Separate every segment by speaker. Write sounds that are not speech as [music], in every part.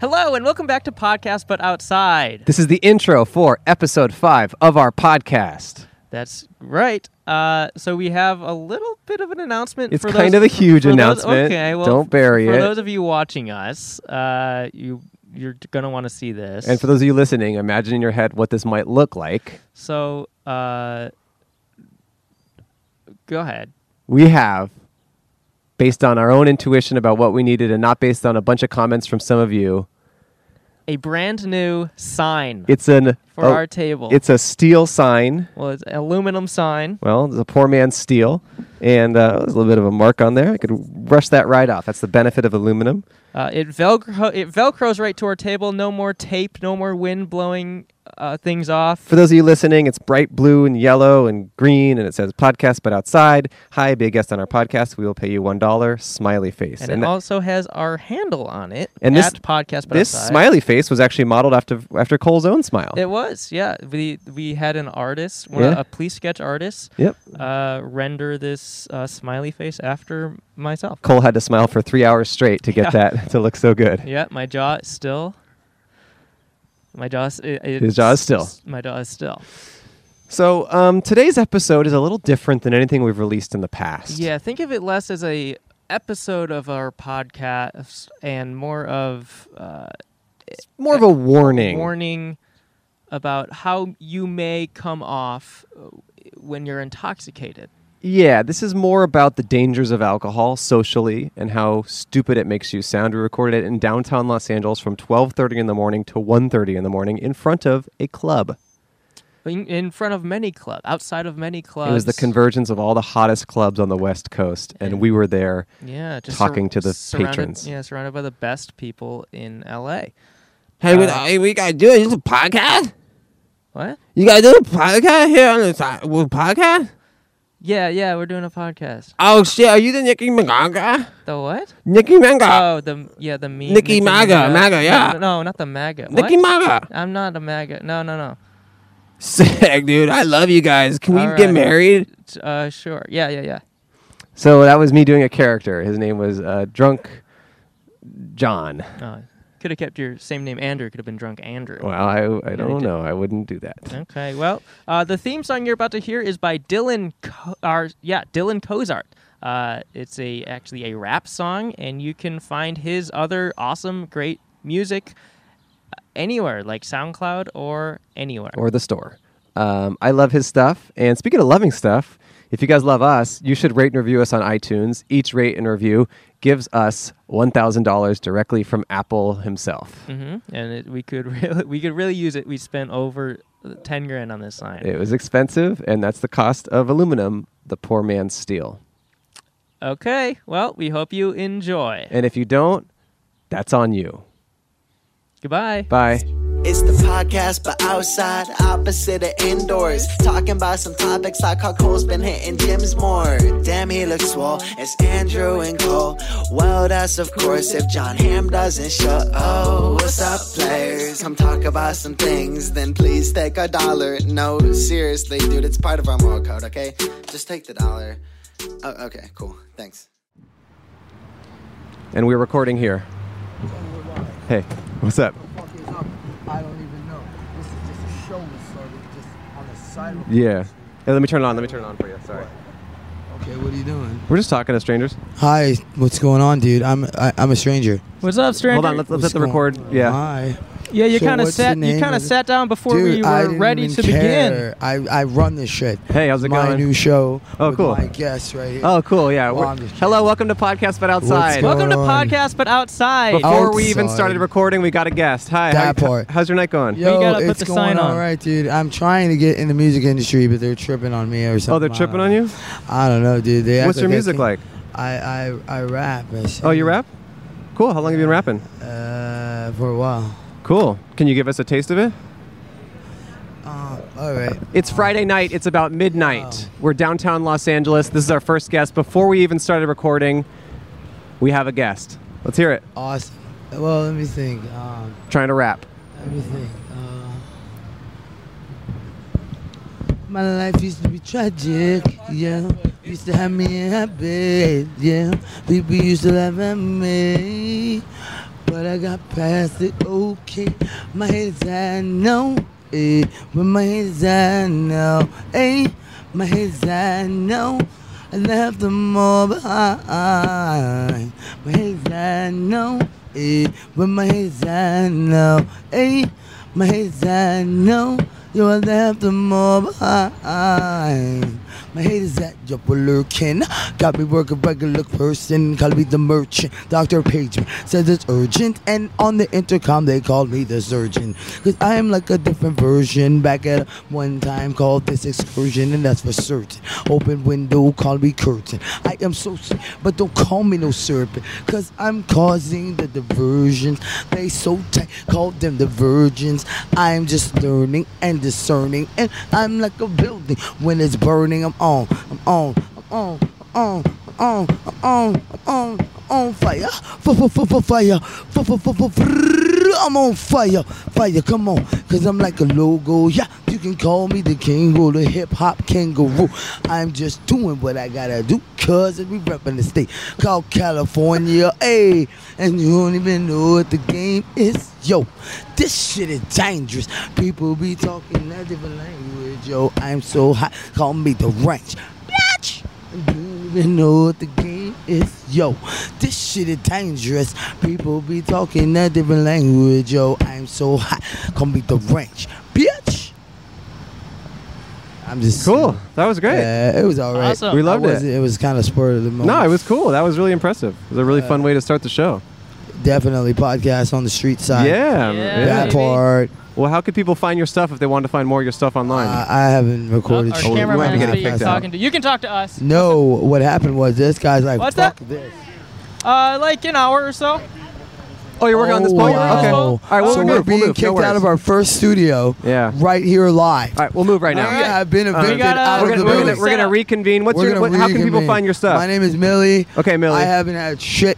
Speaker 1: Hello, and welcome back to Podcast But Outside.
Speaker 2: This is the intro for episode five of our podcast.
Speaker 1: That's right. Uh, so we have a little bit of an announcement.
Speaker 2: It's
Speaker 1: for
Speaker 2: kind
Speaker 1: those-
Speaker 2: of a huge
Speaker 1: for those-
Speaker 2: announcement.
Speaker 1: okay, well,
Speaker 2: Don't bury
Speaker 1: for
Speaker 2: it.
Speaker 1: those of you watching us, uh, you you're gonna want to see this.
Speaker 2: And for those of you listening, imagine in your head what this might look like.
Speaker 1: so, uh, go ahead.
Speaker 2: We have, based on our own intuition about what we needed and not based on a bunch of comments from some of you,
Speaker 1: A brand new sign
Speaker 2: it's an
Speaker 1: for
Speaker 2: oh,
Speaker 1: our table.
Speaker 2: it's a steel sign.
Speaker 1: well, it's an aluminum sign.
Speaker 2: Well, it's a poor man's steel, and uh, there's a little bit of a mark on there. I could brush that right off. That's the benefit of aluminum.
Speaker 1: Uh, it velcro it velcros right to our table. No more tape. No more wind blowing uh, things off.
Speaker 2: For those of you listening, it's bright blue and yellow and green, and it says podcast but outside. Hi, be a guest on our podcast. We will pay you $1. Smiley face.
Speaker 1: and, it
Speaker 2: tha-
Speaker 1: also has our handle on it
Speaker 2: And this-
Speaker 1: at podcast but
Speaker 2: this
Speaker 1: Outside.
Speaker 2: smiley face was actually modeled after after Cole's own smile.
Speaker 1: it was yeah we we had an artist one
Speaker 2: Yeah.
Speaker 1: a police sketch artist
Speaker 2: Yep.
Speaker 1: uh, render this uh, smiley face after myself
Speaker 2: Cole had to smile for three hours straight to get
Speaker 1: Yeah.
Speaker 2: that [laughs] to look so good.
Speaker 1: yeah my jaw is still my jaw is, it, it's-
Speaker 2: His jaw is still.
Speaker 1: my jaw is still
Speaker 2: So um, today's episode is a little different than anything we've released in the past.
Speaker 1: yeah think of it less as a episode of our podcast and more of uh,
Speaker 2: More of a warning.
Speaker 1: warning about how you may come off uh, when you're intoxicated
Speaker 2: Yeah, this is more about the dangers of alcohol socially and how stupid it makes you sound. We recorded it in downtown Los Angeles from 12:30 in the morning to 1:30 in the morning in front of a club.
Speaker 1: in, in front of many clubs, outside of many clubs.
Speaker 2: It was the convergence of all the hottest clubs on the West Coast and we were there.
Speaker 1: yeah, just
Speaker 2: talking to the
Speaker 1: surrounded-
Speaker 2: patrons.
Speaker 1: Yeah, surrounded by the best people in L.A.
Speaker 3: Hey, what,
Speaker 1: Uh,
Speaker 3: hey, we gotta do it. This is a podcast.
Speaker 1: What?
Speaker 3: You gotta do a podcast here on the side. With podcast?
Speaker 1: Yeah, yeah, we're doing a podcast.
Speaker 3: Oh shit! Are you the Nicki Minaj?
Speaker 1: The what?
Speaker 3: Nicki Minaj.
Speaker 1: Oh, the yeah, the me.
Speaker 3: Nicki Maga, Maga, yeah.
Speaker 1: No, no, not the MAGA.
Speaker 3: Nicki
Speaker 1: what?
Speaker 3: Minaj.
Speaker 1: I'm not a MAGA. No, no, no.
Speaker 3: Sick, dude. I love you guys. Can we
Speaker 1: All
Speaker 3: get
Speaker 1: right.
Speaker 3: married?
Speaker 1: T- Uh, sure. Yeah, yeah, yeah.
Speaker 2: So that was me doing a character. His name was uh, Drunk John.
Speaker 1: No, could have kept your same name, Andrew. Could have been drunk, Andrew.
Speaker 2: Well, I, I
Speaker 1: you
Speaker 2: don't
Speaker 1: did.
Speaker 2: know. I wouldn't do that.
Speaker 1: Okay. Well, uh, the theme song you're about to hear is by Dylan. Co- our, yeah, Dylan Cozart. Uh, it's a actually a rap song, and you can find his other awesome, great music uh, anywhere, like SoundCloud or anywhere.
Speaker 2: or the store. Um, I love his stuff. And speaking of loving stuff, if you guys love us, you should rate and review us on iTunes. Each rate and review gives us $1,000 directly from Apple himself.
Speaker 1: hmm And it, we could [laughs] really, we could really use it. We spent over ten grand on this sign.
Speaker 2: It was expensive, and that's the cost of aluminum, the poor man's steel.
Speaker 1: Okay. Well, we hope you enjoy.
Speaker 2: And if you don't, that's on you.
Speaker 1: Goodbye.
Speaker 2: Bye.
Speaker 4: It's the podcast, but outside, opposite of indoors. Talking about some topics like how Cole's been hitting gyms more. Damn, he looks swole. It's Andrew and Cole. Well, that's of course if John Ham doesn't show. Oh, what's up, players? Come talk about some things, then please take a dollar. No, seriously, dude, it's part of our moral code, okay? Just take the dollar. Oh, okay, cool. Thanks.
Speaker 2: And we're recording here. Hey, what's up?
Speaker 5: fuck is up? I don't even know. This is just a show we started just on the side of
Speaker 2: Yeah. Hey, let me turn it on. Let me turn it on for you. Sorry.
Speaker 5: Okay, what are you doing?
Speaker 2: We're just talking to strangers.
Speaker 5: Hi, what's going on, dude? I'm I, I'm a stranger.
Speaker 1: What's up, Stranger?
Speaker 2: Hold on. Let's, let's hit the record. Yeah.
Speaker 5: Hi.
Speaker 1: yeah, you
Speaker 5: So
Speaker 1: kind of
Speaker 5: what's the
Speaker 1: sat. You
Speaker 5: name
Speaker 1: kind of
Speaker 5: of it?
Speaker 1: sat down before
Speaker 5: dude,
Speaker 1: we
Speaker 5: I
Speaker 1: were
Speaker 5: didn't
Speaker 1: ready
Speaker 5: even
Speaker 1: to begin.
Speaker 5: care. begin. I, I run this shit.
Speaker 2: Hey, how's it
Speaker 5: my
Speaker 2: going?
Speaker 5: My new show.
Speaker 2: Oh,
Speaker 5: with
Speaker 2: cool.
Speaker 5: My guest right here.
Speaker 2: Oh, cool. Yeah.
Speaker 5: Well,
Speaker 2: We're-
Speaker 5: I'm just
Speaker 2: Hello,
Speaker 5: kidding.
Speaker 2: welcome to Podcast But Outside.
Speaker 5: going
Speaker 1: Welcome to
Speaker 5: on?
Speaker 1: podcast, but outside.
Speaker 2: Before we even
Speaker 5: Outside.
Speaker 2: started recording, we got a guest. Hi. how-
Speaker 5: That part.
Speaker 2: How's your night going?
Speaker 5: Yo,
Speaker 1: gotta put
Speaker 5: it's
Speaker 1: the
Speaker 5: going
Speaker 1: sign on.
Speaker 5: all right, dude. I'm trying to get in the music industry, but they're tripping on me or something.
Speaker 2: oh, they're
Speaker 5: I
Speaker 2: tripping on
Speaker 5: don't know.
Speaker 2: you?
Speaker 5: I don't know, dude. They act
Speaker 2: What's your
Speaker 5: I
Speaker 2: music
Speaker 5: think-
Speaker 2: like?
Speaker 5: I I, I rap. I
Speaker 2: Oh, you
Speaker 5: sing,
Speaker 2: rap? Cool. How long have you been rapping?
Speaker 5: Uh, for a while.
Speaker 2: Cool. Can you give us a taste of it?
Speaker 5: Uh, Oh. all right.
Speaker 2: It's Friday night. It's about midnight. We're downtown Los Angeles. This is our first guest. Before we even started recording, we have a guest. Let's hear it.
Speaker 5: Awesome. Well, let me think. Um,
Speaker 2: Trying to rap.
Speaker 5: let me think. Uh, my life used to be tragic, yeah. Used to have me in a bed, yeah. People used to laugh at me. but I got past it. Okay, my head is high now, eh? But my head is high now, eh? My head is high now. I left them all behind. My head is high now, eh? But my head is high now, eh? My head is high now. You I left them all behind. My head is at your lurking. Got me working regular person. Call me the merchant. Dr. Pageman says it's urgent. And on the intercom, they called me the surgeon. Cause I am like a different version. Back at one time called this excursion. And that's for certain. Open window, call me curtain. I am so sick, but don't call me no serpent. Cause I'm causing the diversions. They so tight, call them the virgins. I'm just learning and discerning. And I'm like a building. When it's burning, I'm on, I'm on, I'm on, I'm on, I'm on, I'm on, I'm on, I'm on fire. F-f-f-f-fire. F-f-f-f-fr- I'm on fire. Fire, come on. Cause I'm like a logo. Yeah, you can call me the king or the hip hop kangaroo. I'm just doing what I gotta do. Cause we reppin' the state called California. Hey, and you don't even know what the game is. Yo, this shit is dangerous. People be talking a different language. Yo, I'm so hot. Call me the ranch. Bitch! You don't even know what the game is. Yo, this shit is dangerous. People be talking a different language. Yo, I'm so hot. Call me the ranch. Bitch! I'm just.
Speaker 2: Cool. That was great.
Speaker 5: Yeah, it was all right.
Speaker 1: Awesome.
Speaker 2: We loved
Speaker 5: I
Speaker 2: it.
Speaker 5: wasn't- It was kind of spur of the moment.
Speaker 2: no, it was cool. That was really impressive. It was a really fun way to start the show.
Speaker 5: definitely podcast on the street side.
Speaker 2: yeah.
Speaker 1: Yeah.
Speaker 5: that
Speaker 1: baby.
Speaker 5: part.
Speaker 2: Well, how could people find your stuff if they want to find more of your stuff online?
Speaker 5: Uh, I haven't recorded.
Speaker 1: Our
Speaker 5: shit.
Speaker 2: cameraman might
Speaker 1: cameraman is
Speaker 2: be getting
Speaker 1: who you're
Speaker 2: picked out.
Speaker 1: talking to. You can talk to us.
Speaker 5: No, what happened was this guy's like,
Speaker 1: What's
Speaker 5: fuck
Speaker 1: that?
Speaker 5: this.
Speaker 1: Uh, like an hour or so.
Speaker 2: oh, you're working on this
Speaker 5: Oh,
Speaker 2: poll?
Speaker 1: wow.
Speaker 2: Okay.
Speaker 1: All
Speaker 2: All right, well,
Speaker 5: so
Speaker 2: we're,
Speaker 5: we're,
Speaker 2: move.
Speaker 5: being
Speaker 2: we'll move.
Speaker 5: kicked
Speaker 2: no worries.
Speaker 5: out of our first studio.
Speaker 2: Yeah.
Speaker 5: right here live.
Speaker 2: All right, we'll move right now.
Speaker 5: I have been evicted
Speaker 1: gotta-
Speaker 5: out
Speaker 2: We're
Speaker 5: of
Speaker 2: gonna,
Speaker 5: the
Speaker 2: we're gonna-
Speaker 5: building.
Speaker 2: we're gonna reconvene. What's
Speaker 5: We're
Speaker 2: your?
Speaker 5: gonna
Speaker 2: What, how can people
Speaker 5: reconvene.
Speaker 2: find your stuff?
Speaker 5: My name is Millie.
Speaker 2: Okay, Millie.
Speaker 5: I haven't had shit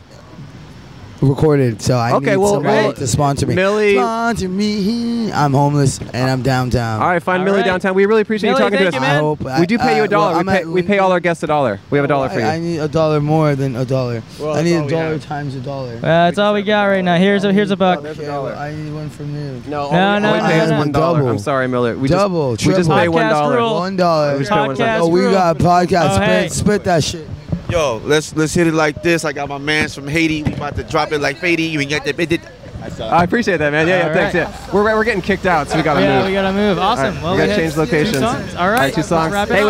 Speaker 5: recorded, so I
Speaker 2: Okay,
Speaker 5: need
Speaker 2: well,
Speaker 5: somebody
Speaker 2: well,
Speaker 5: to sponsor me.
Speaker 2: Millie-
Speaker 5: sponsor me. I'm homeless and I'm downtown.
Speaker 2: All right, find
Speaker 1: All
Speaker 2: Millie
Speaker 1: right.
Speaker 2: downtown. We really appreciate
Speaker 1: Millie,
Speaker 2: you talking
Speaker 1: thank
Speaker 2: to
Speaker 1: you,
Speaker 2: us.
Speaker 1: man.
Speaker 5: I hope I-
Speaker 2: We do pay you
Speaker 5: uh,
Speaker 2: a dollar.
Speaker 5: well, I'm
Speaker 2: we, pay,
Speaker 5: at Oh,
Speaker 2: we pay all our guests a dollar. We have a dollar for you.
Speaker 5: I, I need a dollar more than a dollar. I need a
Speaker 2: we
Speaker 5: dollar
Speaker 2: have.
Speaker 5: times a dollar.
Speaker 1: that's all we got right now. Here's a here's a buck.
Speaker 2: there's a
Speaker 5: Okay,
Speaker 2: dollar.
Speaker 5: well, I need one from you.
Speaker 2: no,
Speaker 1: No,
Speaker 2: all we,
Speaker 1: no,
Speaker 2: all we
Speaker 1: no,
Speaker 2: pay
Speaker 1: no,
Speaker 2: is
Speaker 1: no.
Speaker 2: one dollar.
Speaker 5: Oh, Double.
Speaker 2: I'm sorry, Miller. We
Speaker 5: Double,
Speaker 2: Just, we just
Speaker 5: triple.
Speaker 2: pay one
Speaker 1: Podcast
Speaker 2: dollar.
Speaker 1: rule.
Speaker 5: One dollar.
Speaker 2: We just pay one dollar.
Speaker 1: Podcast
Speaker 5: Oh, we
Speaker 1: rule.
Speaker 5: got podcast.
Speaker 1: Oh,
Speaker 5: spit,
Speaker 1: hey.
Speaker 5: spit that shit.
Speaker 6: Yo, let's let's hit it like this. I got my man's from Haiti. We about to drop it like Fady. You ain't got that. It, it. I saw.
Speaker 2: I appreciate that, man. Yeah, yeah,
Speaker 1: All
Speaker 2: thanks.
Speaker 1: right.
Speaker 2: Yeah, we're we're getting kicked out, so we gotta
Speaker 1: Yeah,
Speaker 2: move.
Speaker 1: we gotta move.
Speaker 2: All
Speaker 1: Awesome.
Speaker 2: right,
Speaker 1: well,
Speaker 2: we gotta
Speaker 1: had
Speaker 2: change locations.
Speaker 1: Two songs. All right.
Speaker 2: two songs.
Speaker 1: Wrap it
Speaker 2: Hey,
Speaker 1: up.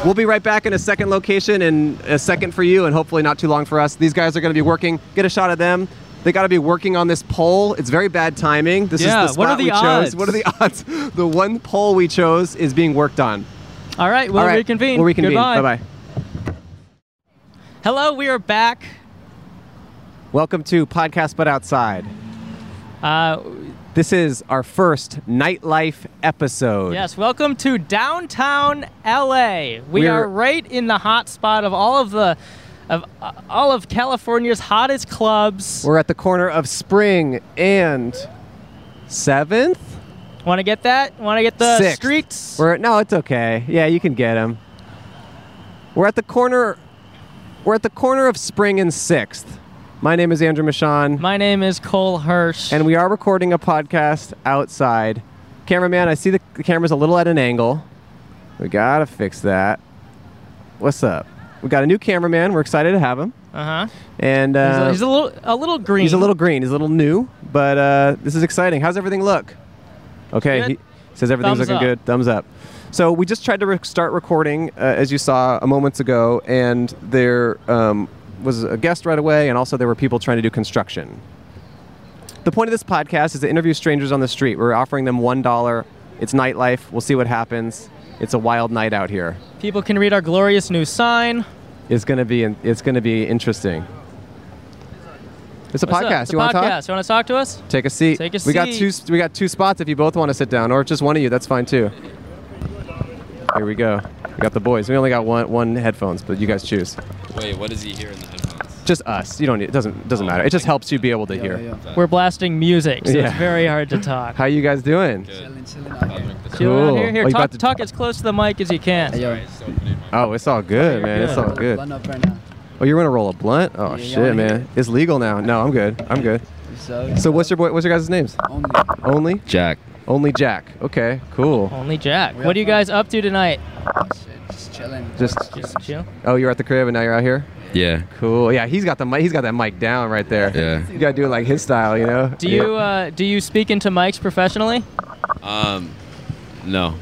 Speaker 2: wait. We'll be right back in a second location and a second for you, and hopefully not too long for us. These guys are going to be working. Get a shot of them. They got to be working on this poll. It's very bad timing. This
Speaker 1: Yeah,
Speaker 2: is the spot
Speaker 1: what are the
Speaker 2: we
Speaker 1: odds?
Speaker 2: chose. What are the [laughs] odds? The one poll we chose is being worked on.
Speaker 1: All right. We'll
Speaker 2: All right,
Speaker 1: reconvene.
Speaker 2: We'll reconvene.
Speaker 1: Goodbye.
Speaker 2: Bye bye.
Speaker 1: Hello. We are back.
Speaker 2: Welcome to Podcast But Outside.
Speaker 1: Uh,
Speaker 2: This is our first nightlife episode.
Speaker 1: yes. Welcome to downtown LA. We
Speaker 2: We're-
Speaker 1: are right in the hot spot of all of the of uh, all of California's hottest clubs.
Speaker 2: We're at the corner of Spring and 7th.
Speaker 1: Want to get that? Want to get the
Speaker 2: Sixth.
Speaker 1: streets?
Speaker 2: We're no, it's okay. Yeah, you can get him. We're at the corner. We're at the corner of Spring and Sixth. My name is Andrew Michon,
Speaker 1: My name is Cole Hirsch.
Speaker 2: and we are recording a podcast outside. Cameraman, I see the, the camera's a little at an angle. We gotta fix that. What's up? We got a new cameraman. We're excited to have him.
Speaker 1: uh huh.
Speaker 2: And uh,
Speaker 1: He's, a- he's a little a little green.
Speaker 2: He's a little green. He's a little new, but uh, this is exciting. How's everything look? Okay,
Speaker 1: Good.
Speaker 2: he says everything's
Speaker 1: Thumbs
Speaker 2: looking
Speaker 1: up.
Speaker 2: good. Thumbs up. So we just tried to re- start recording, uh, as you saw a moments ago, and there um, was a guest right away, and also there were people trying to do construction. The point of this podcast is to interview strangers on the street. We're offering them one dollar. It's nightlife. We'll see what happens. It's a wild night out here.
Speaker 1: People can read our glorious new sign.
Speaker 2: It's gonna be. It's gonna be interesting. It's a
Speaker 1: What's up?
Speaker 2: podcast.
Speaker 1: It's a
Speaker 2: you want to talk?
Speaker 1: podcast. You want to talk to us?
Speaker 2: Take a seat.
Speaker 1: Take a
Speaker 2: We got
Speaker 1: seat.
Speaker 2: two. We got two spots if you both want to sit down, or if just one of you. That's fine too. Here we go. We got the boys. We only got one one headphones, but you guys choose.
Speaker 7: Wait, what does he hear in the headphones?
Speaker 2: Just us. You don't. Need, it doesn't doesn't matter. It just helps you be able to hear.
Speaker 1: We're blasting music, so it's
Speaker 2: Yeah.
Speaker 1: very hard to talk.
Speaker 2: [laughs] How you guys doing?
Speaker 7: I'll drink this.
Speaker 1: Chill out
Speaker 2: Cool.
Speaker 1: Here, here.
Speaker 2: Oh, you
Speaker 1: talk,
Speaker 2: about to-
Speaker 1: talk as close to the mic as you can.
Speaker 7: Sorry, it's opening my
Speaker 2: Oh, it's all good, man. It's all good.
Speaker 5: up right now.
Speaker 2: Oh, you want to roll a blunt? Oh
Speaker 5: Yeah, y'all
Speaker 2: shit,
Speaker 5: wanna
Speaker 2: man,
Speaker 5: hit
Speaker 2: it's legal now. No, I'm good. I'm good.
Speaker 5: So,
Speaker 2: So what's your boy? What's your guys' names?
Speaker 5: only
Speaker 2: Only,
Speaker 8: Jack.
Speaker 2: only Jack. Okay, cool.
Speaker 1: Only Jack.
Speaker 5: Real
Speaker 1: What are you
Speaker 5: fun.
Speaker 1: guys up to tonight?
Speaker 5: shit, just chilling.
Speaker 2: Just
Speaker 1: Just chill.
Speaker 2: oh, you're at the crib and now you're out here.
Speaker 8: Yeah.
Speaker 2: Cool. Yeah, he's got the mic. He's got that mic down right there.
Speaker 8: Yeah.
Speaker 2: You gotta do it like his style, you know.
Speaker 1: Do you uh, do you speak into mics professionally?
Speaker 7: Um, no.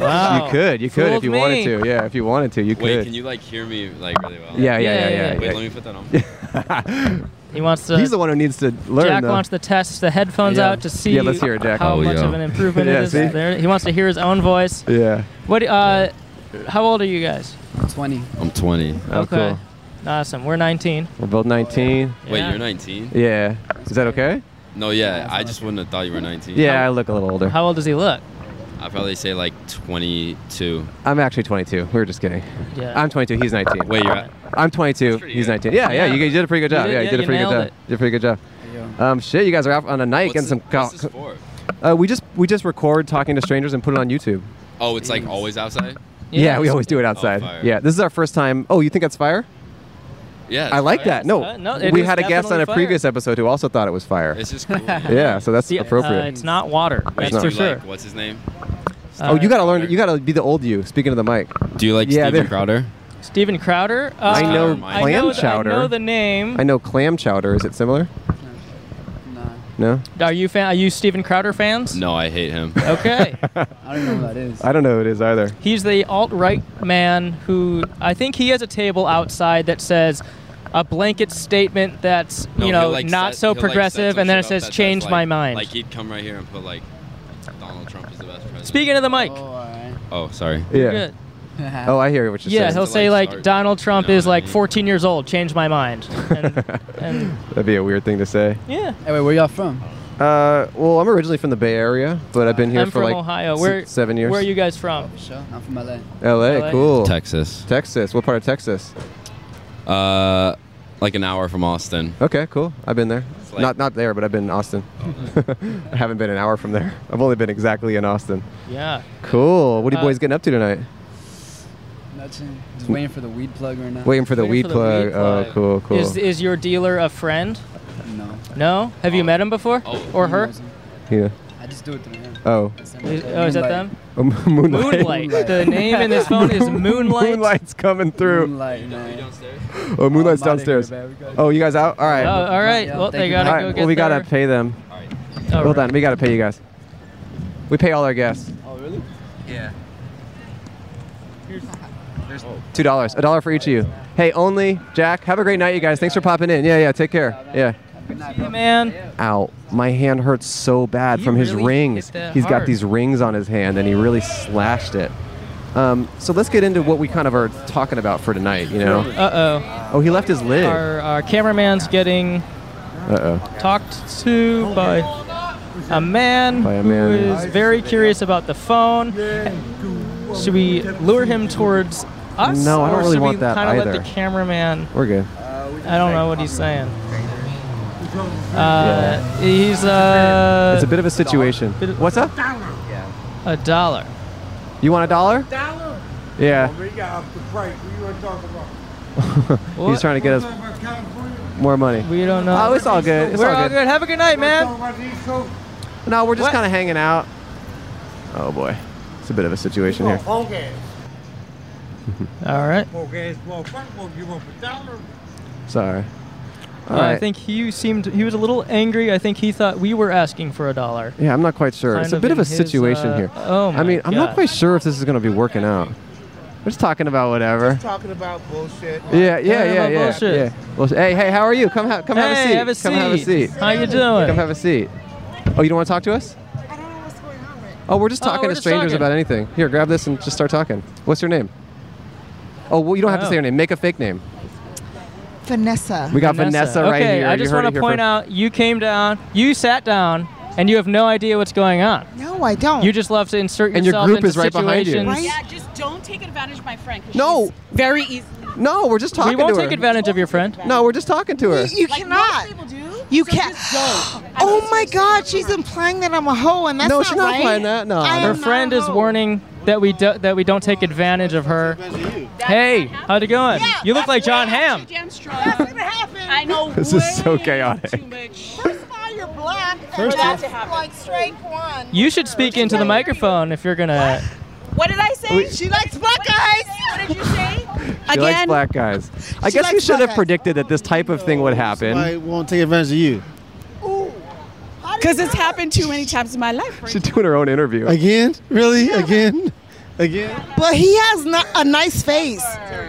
Speaker 1: Wow.
Speaker 2: You could. You could if
Speaker 1: Fooled
Speaker 2: you wanted
Speaker 1: me.
Speaker 2: to. Yeah, if you wanted to, you could.
Speaker 7: Wait, can you like hear me like really well?
Speaker 2: yeah, yeah, yeah,
Speaker 1: Yeah,
Speaker 2: yeah.
Speaker 1: yeah,
Speaker 7: Wait,
Speaker 2: yeah.
Speaker 7: let me put that on.
Speaker 1: [laughs] He wants to.
Speaker 2: he's the one who needs to learn.
Speaker 1: Jack
Speaker 2: though.
Speaker 1: wants to test the headphones
Speaker 2: Yeah.
Speaker 1: out to see
Speaker 2: Yeah, let's hear it, Jack.
Speaker 1: how
Speaker 8: Oh,
Speaker 1: much
Speaker 8: yeah.
Speaker 1: of an improvement
Speaker 2: [laughs] Yeah,
Speaker 1: it is.
Speaker 2: see?
Speaker 1: There, he wants to hear his own voice.
Speaker 2: yeah.
Speaker 1: What? Uh, how old are you guys?
Speaker 5: 20.
Speaker 7: I'm 20.
Speaker 2: Oh, cool.
Speaker 1: Awesome. We're 19.
Speaker 2: We're both 19.
Speaker 7: Wait,
Speaker 1: Yeah.
Speaker 7: you're 19?
Speaker 2: Yeah. Is that okay?
Speaker 7: No, yeah. I just wouldn't have thought you were 19.
Speaker 2: Yeah, I look a little older.
Speaker 1: How old does he look?
Speaker 7: I'd probably say like 22.
Speaker 2: I'm actually 22. We were just kidding.
Speaker 1: Yeah.
Speaker 2: I'm 22. He's 19.
Speaker 7: Wait, you're at,
Speaker 2: I'm 22.
Speaker 7: pretty
Speaker 2: He's
Speaker 7: good.
Speaker 2: 19. Yeah, yeah.
Speaker 1: Yeah.
Speaker 2: You, you did a pretty good
Speaker 1: You
Speaker 2: job.
Speaker 1: did-
Speaker 2: yeah, you
Speaker 1: yeah,
Speaker 2: did a
Speaker 1: you
Speaker 2: pretty good
Speaker 1: nailed
Speaker 2: job.
Speaker 1: it.
Speaker 2: Did a pretty good job.
Speaker 5: Yo.
Speaker 2: Um, shit, you guys are out on a night
Speaker 7: what's
Speaker 2: getting some.
Speaker 7: this, what's this
Speaker 2: co-
Speaker 7: for?
Speaker 2: uh, we just we just record talking to strangers and put it on YouTube.
Speaker 7: Oh, it's like always outside?
Speaker 2: Yeah, we always do it outside.
Speaker 7: Oh, fire.
Speaker 2: yeah, this is our first time. Oh, you think that's fire?
Speaker 7: Yeah.
Speaker 2: I
Speaker 7: it's
Speaker 2: like
Speaker 7: fire.
Speaker 2: that. No,
Speaker 1: Uh, no, it
Speaker 2: we
Speaker 1: is
Speaker 2: had a guest on
Speaker 1: definitely
Speaker 2: a
Speaker 1: fire.
Speaker 2: previous episode who also thought it was fire.
Speaker 7: It's
Speaker 1: [laughs]
Speaker 7: just cool.
Speaker 2: [laughs] yeah, so that's appropriate.
Speaker 1: Uh, it's not water. That's
Speaker 7: do
Speaker 1: for
Speaker 7: you
Speaker 1: sure. Uh,
Speaker 7: like, what's his name?
Speaker 2: oh, you gotta learn.
Speaker 7: Crowder.
Speaker 2: You gotta be the old you. Speaking of the mic,
Speaker 7: Do you like
Speaker 2: Yeah,
Speaker 7: Steven
Speaker 2: they're-
Speaker 7: Crowder?
Speaker 1: Stephen Crowder. Uh,
Speaker 2: I know
Speaker 1: I
Speaker 2: clam
Speaker 1: know th-
Speaker 2: chowder.
Speaker 1: I know the name.
Speaker 2: I know clam chowder. Is it similar?
Speaker 5: Nah,
Speaker 2: No,
Speaker 1: Are you fan? Are you Stephen Crowder fans?
Speaker 7: No, I hate him.
Speaker 1: [laughs]
Speaker 2: [laughs]
Speaker 1: Okay.
Speaker 5: I don't know who that is.
Speaker 2: I don't know who it is
Speaker 5: [laughs]
Speaker 2: either.
Speaker 1: He's the alt right man who I think he has a table outside that says a blanket statement that's
Speaker 7: No,
Speaker 1: you
Speaker 7: he'll,
Speaker 1: know
Speaker 7: like,
Speaker 1: not
Speaker 7: set-
Speaker 1: so
Speaker 7: he'll, like, set
Speaker 1: progressive,
Speaker 7: some
Speaker 1: and then
Speaker 7: shit
Speaker 1: it
Speaker 7: up
Speaker 1: says
Speaker 7: that
Speaker 1: change
Speaker 7: like-
Speaker 1: my mind.
Speaker 7: Like he'd come right here and put like Donald Trump is the best president.
Speaker 1: Speaking of the mic,
Speaker 5: Oh, alright.
Speaker 7: Oh, sorry.
Speaker 2: Yeah.
Speaker 1: good.
Speaker 2: [laughs] Oh, I hear what you're
Speaker 1: yeah,
Speaker 2: saying.
Speaker 1: he'll
Speaker 7: to,
Speaker 1: say
Speaker 7: like,
Speaker 1: like,
Speaker 7: start-
Speaker 1: Donald Trump
Speaker 7: you know
Speaker 1: is
Speaker 7: what I
Speaker 1: like
Speaker 7: mean?
Speaker 1: 14 years old. Change my
Speaker 2: [laughs]
Speaker 1: mind. And, and
Speaker 2: That'd be a weird thing to say.
Speaker 1: yeah,
Speaker 5: Hey, wait, where y'all from?
Speaker 2: Uh, well, I'm originally from the Bay Area, but I've been here
Speaker 1: I'm
Speaker 2: for
Speaker 1: from
Speaker 2: like
Speaker 1: Ohio.
Speaker 2: s-
Speaker 1: Where
Speaker 2: seven years.
Speaker 1: Where are you guys from?
Speaker 5: Oh, Sure, I'm from LA.
Speaker 2: LA,
Speaker 1: LA?
Speaker 2: cool.
Speaker 7: Texas.
Speaker 2: Texas. What part of Texas?
Speaker 7: Uh, like an hour from Austin.
Speaker 2: Okay, cool. I've been there.
Speaker 7: like-
Speaker 2: not not there, but I've been in Austin. [laughs] I haven't been an hour from there. I've only been exactly in Austin.
Speaker 1: Yeah.
Speaker 2: Cool. What are you
Speaker 1: Uh,
Speaker 2: boys getting up to tonight?
Speaker 5: Nothing. Just waiting for the weed plug right now.
Speaker 2: Waiting for the, weed,
Speaker 1: Waiting for the
Speaker 2: plug.
Speaker 1: weed
Speaker 2: Oh,
Speaker 1: plug.
Speaker 2: cool, cool.
Speaker 1: Is is your dealer a friend?
Speaker 5: No.
Speaker 1: No. Have you
Speaker 7: Oh.
Speaker 1: met him before?
Speaker 7: Oh.
Speaker 1: Or her?
Speaker 2: yeah.
Speaker 5: I just do it through him.
Speaker 2: Oh,
Speaker 1: Is- oh, is that them?
Speaker 2: Oh, [laughs] moonlight.
Speaker 1: Moonlight. the name in this phone
Speaker 2: [laughs]
Speaker 1: is Moonlight.
Speaker 2: Moonlight's coming through.
Speaker 5: Moonlight, man.
Speaker 2: Oh, moonlight's
Speaker 5: I'm outta here,
Speaker 2: downstairs.
Speaker 5: man. We gotta-
Speaker 2: Oh, you guys out? All right.
Speaker 1: Oh, all right.
Speaker 5: Yeah,
Speaker 1: Well, they
Speaker 5: thank you.
Speaker 1: gotta
Speaker 2: all
Speaker 1: go
Speaker 2: right.
Speaker 1: get
Speaker 2: Well, we gotta
Speaker 1: their-
Speaker 2: pay them.
Speaker 1: All
Speaker 2: Hold
Speaker 1: right.
Speaker 2: on. We gotta pay you guys. We pay all our guests.
Speaker 5: Oh, really?
Speaker 2: Yeah.
Speaker 1: Oh.
Speaker 2: Two dollars. A dollar for each of you. Hey, only Jack. Have a great night, you guys. Thanks for popping in. Yeah, yeah. Take care. Yeah.
Speaker 5: Have a good night,
Speaker 1: Hey,
Speaker 5: bro.
Speaker 1: man.
Speaker 2: Ow. My hand hurts so bad
Speaker 1: You
Speaker 2: from his
Speaker 1: really
Speaker 2: rings.
Speaker 1: hit that
Speaker 2: He's got
Speaker 1: hard.
Speaker 2: these rings on his hand, and he really slashed it. Um, so let's get into what we kind of are talking about for tonight. You know.
Speaker 1: Uh
Speaker 2: Oh, he left his
Speaker 1: oh.
Speaker 2: lid. Uh
Speaker 1: Our our cameraman's getting
Speaker 2: oh.
Speaker 1: talked to by a man,
Speaker 2: By a man,
Speaker 1: who
Speaker 2: yeah.
Speaker 1: is very curious about the phone. Should we lure him towards us?
Speaker 2: No, I don't
Speaker 1: or
Speaker 2: really
Speaker 1: should
Speaker 2: want
Speaker 1: we
Speaker 2: that
Speaker 1: kinda
Speaker 2: either.
Speaker 1: Let the cameraman.
Speaker 2: We're good.
Speaker 1: I don't know what he's saying. Uh, he's uh,
Speaker 2: It's a bit of a situation.
Speaker 1: Bit of-
Speaker 2: What's up?
Speaker 1: a dollar.
Speaker 2: You want a dollar?
Speaker 9: Dollar?
Speaker 2: Yeah. [laughs]
Speaker 9: Oh, We got off the break. We were talking about.
Speaker 1: What?
Speaker 2: He's trying to get us
Speaker 9: Talking about California.
Speaker 2: more money.
Speaker 1: We don't know.
Speaker 2: Oh, it's all good. It's
Speaker 1: We're
Speaker 2: all good.
Speaker 1: Have a good night, man.
Speaker 9: Talking about the East Coast.
Speaker 2: No, we're just
Speaker 1: What?
Speaker 2: kind of hanging out. Oh boy, it's a bit of a situation here.
Speaker 9: More gas.
Speaker 1: All right.
Speaker 9: More gas, more fuck. We'll give up a dollar.
Speaker 2: Sorry. All
Speaker 1: Yeah,
Speaker 2: right.
Speaker 1: I think he seemed he was a little angry. I think he thought we were asking for a dollar.
Speaker 2: yeah, I'm not quite sure.
Speaker 1: Kind
Speaker 2: It's a bit of a
Speaker 1: in his,
Speaker 2: situation
Speaker 1: uh,
Speaker 2: here.
Speaker 1: Oh my
Speaker 2: I mean, I'm not
Speaker 1: God.
Speaker 2: quite sure if this is going to be working out. We're just talking about whatever.
Speaker 9: Talking about bullshit.
Speaker 2: Yeah, yeah,
Speaker 1: Talking
Speaker 2: yeah,
Speaker 1: about
Speaker 2: yeah.
Speaker 1: bullshit.
Speaker 2: yeah. Well, hey, hey, how are you? Come, ha- come have a
Speaker 1: Hey,
Speaker 2: seat.
Speaker 1: have a
Speaker 2: Come have a
Speaker 1: seat.
Speaker 2: seat.
Speaker 1: How you doing?
Speaker 2: Come have a seat. Oh, you don't want to talk to us?
Speaker 9: I don't know what's going on right
Speaker 2: Oh, we're just
Speaker 1: Oh,
Speaker 2: talking
Speaker 1: we're
Speaker 2: to
Speaker 1: just
Speaker 2: strangers
Speaker 1: talking.
Speaker 2: about anything. Here, grab this and just start talking. What's your name? Oh, well, you don't have to
Speaker 1: Oh.
Speaker 2: say your name. Make a fake name.
Speaker 9: Vanessa.
Speaker 2: We got Vanessa, right
Speaker 1: okay,
Speaker 2: here.
Speaker 1: I
Speaker 2: You
Speaker 1: just
Speaker 2: heard it
Speaker 1: want to
Speaker 2: here
Speaker 1: point
Speaker 2: first.
Speaker 1: out you came down, you sat down, and you have no idea what's going on.
Speaker 9: No, I don't.
Speaker 1: You just love to insert
Speaker 2: And your
Speaker 1: yourself
Speaker 2: group
Speaker 1: into
Speaker 2: is right behind you.
Speaker 1: situations.
Speaker 9: Right?
Speaker 10: Yeah, just don't take advantage of my friend. 'cause
Speaker 2: No.
Speaker 10: she's very easily.
Speaker 2: No, we're just talking
Speaker 1: We won't
Speaker 2: to her.
Speaker 1: take advantage of your friend.
Speaker 2: No, we're just talking to her.
Speaker 9: You
Speaker 10: Like
Speaker 9: cannot.
Speaker 10: most people do.
Speaker 9: You
Speaker 10: so
Speaker 9: can't. [gasps]
Speaker 10: Just don't. I
Speaker 9: Oh
Speaker 10: mean,
Speaker 9: my
Speaker 10: seriously,
Speaker 9: God,
Speaker 10: don't.
Speaker 9: she's implying that I'm a hoe, and that's
Speaker 2: no,
Speaker 9: not
Speaker 2: she's not
Speaker 9: right.
Speaker 2: playing that. No.
Speaker 9: I
Speaker 1: Her
Speaker 9: am-
Speaker 2: no.
Speaker 9: not
Speaker 1: friend
Speaker 9: a
Speaker 1: is
Speaker 9: hoe.
Speaker 1: warning that we do, that we don't take advantage of her. Hey, how'd it going? you look like John Hamm.
Speaker 10: That's gonna happen. I know.
Speaker 2: This is so chaotic.
Speaker 10: That's why you're black.
Speaker 1: First
Speaker 10: that's
Speaker 1: off-
Speaker 10: like straight one.
Speaker 1: You should speak into the microphone if you're gonna.
Speaker 10: What did I say?
Speaker 9: She likes black guys.
Speaker 10: What did you say?
Speaker 2: She likes
Speaker 10: Again.
Speaker 2: black guys. I guess we
Speaker 9: likes
Speaker 2: should
Speaker 9: black
Speaker 2: have
Speaker 9: guys.
Speaker 2: predicted that this type of thing would happen.
Speaker 8: I won't take advantage of you.
Speaker 10: Because it's happened too many times in my life.
Speaker 2: She's doing her own interview.
Speaker 8: Again? Really? Again? Again?
Speaker 9: But he has not a nice face.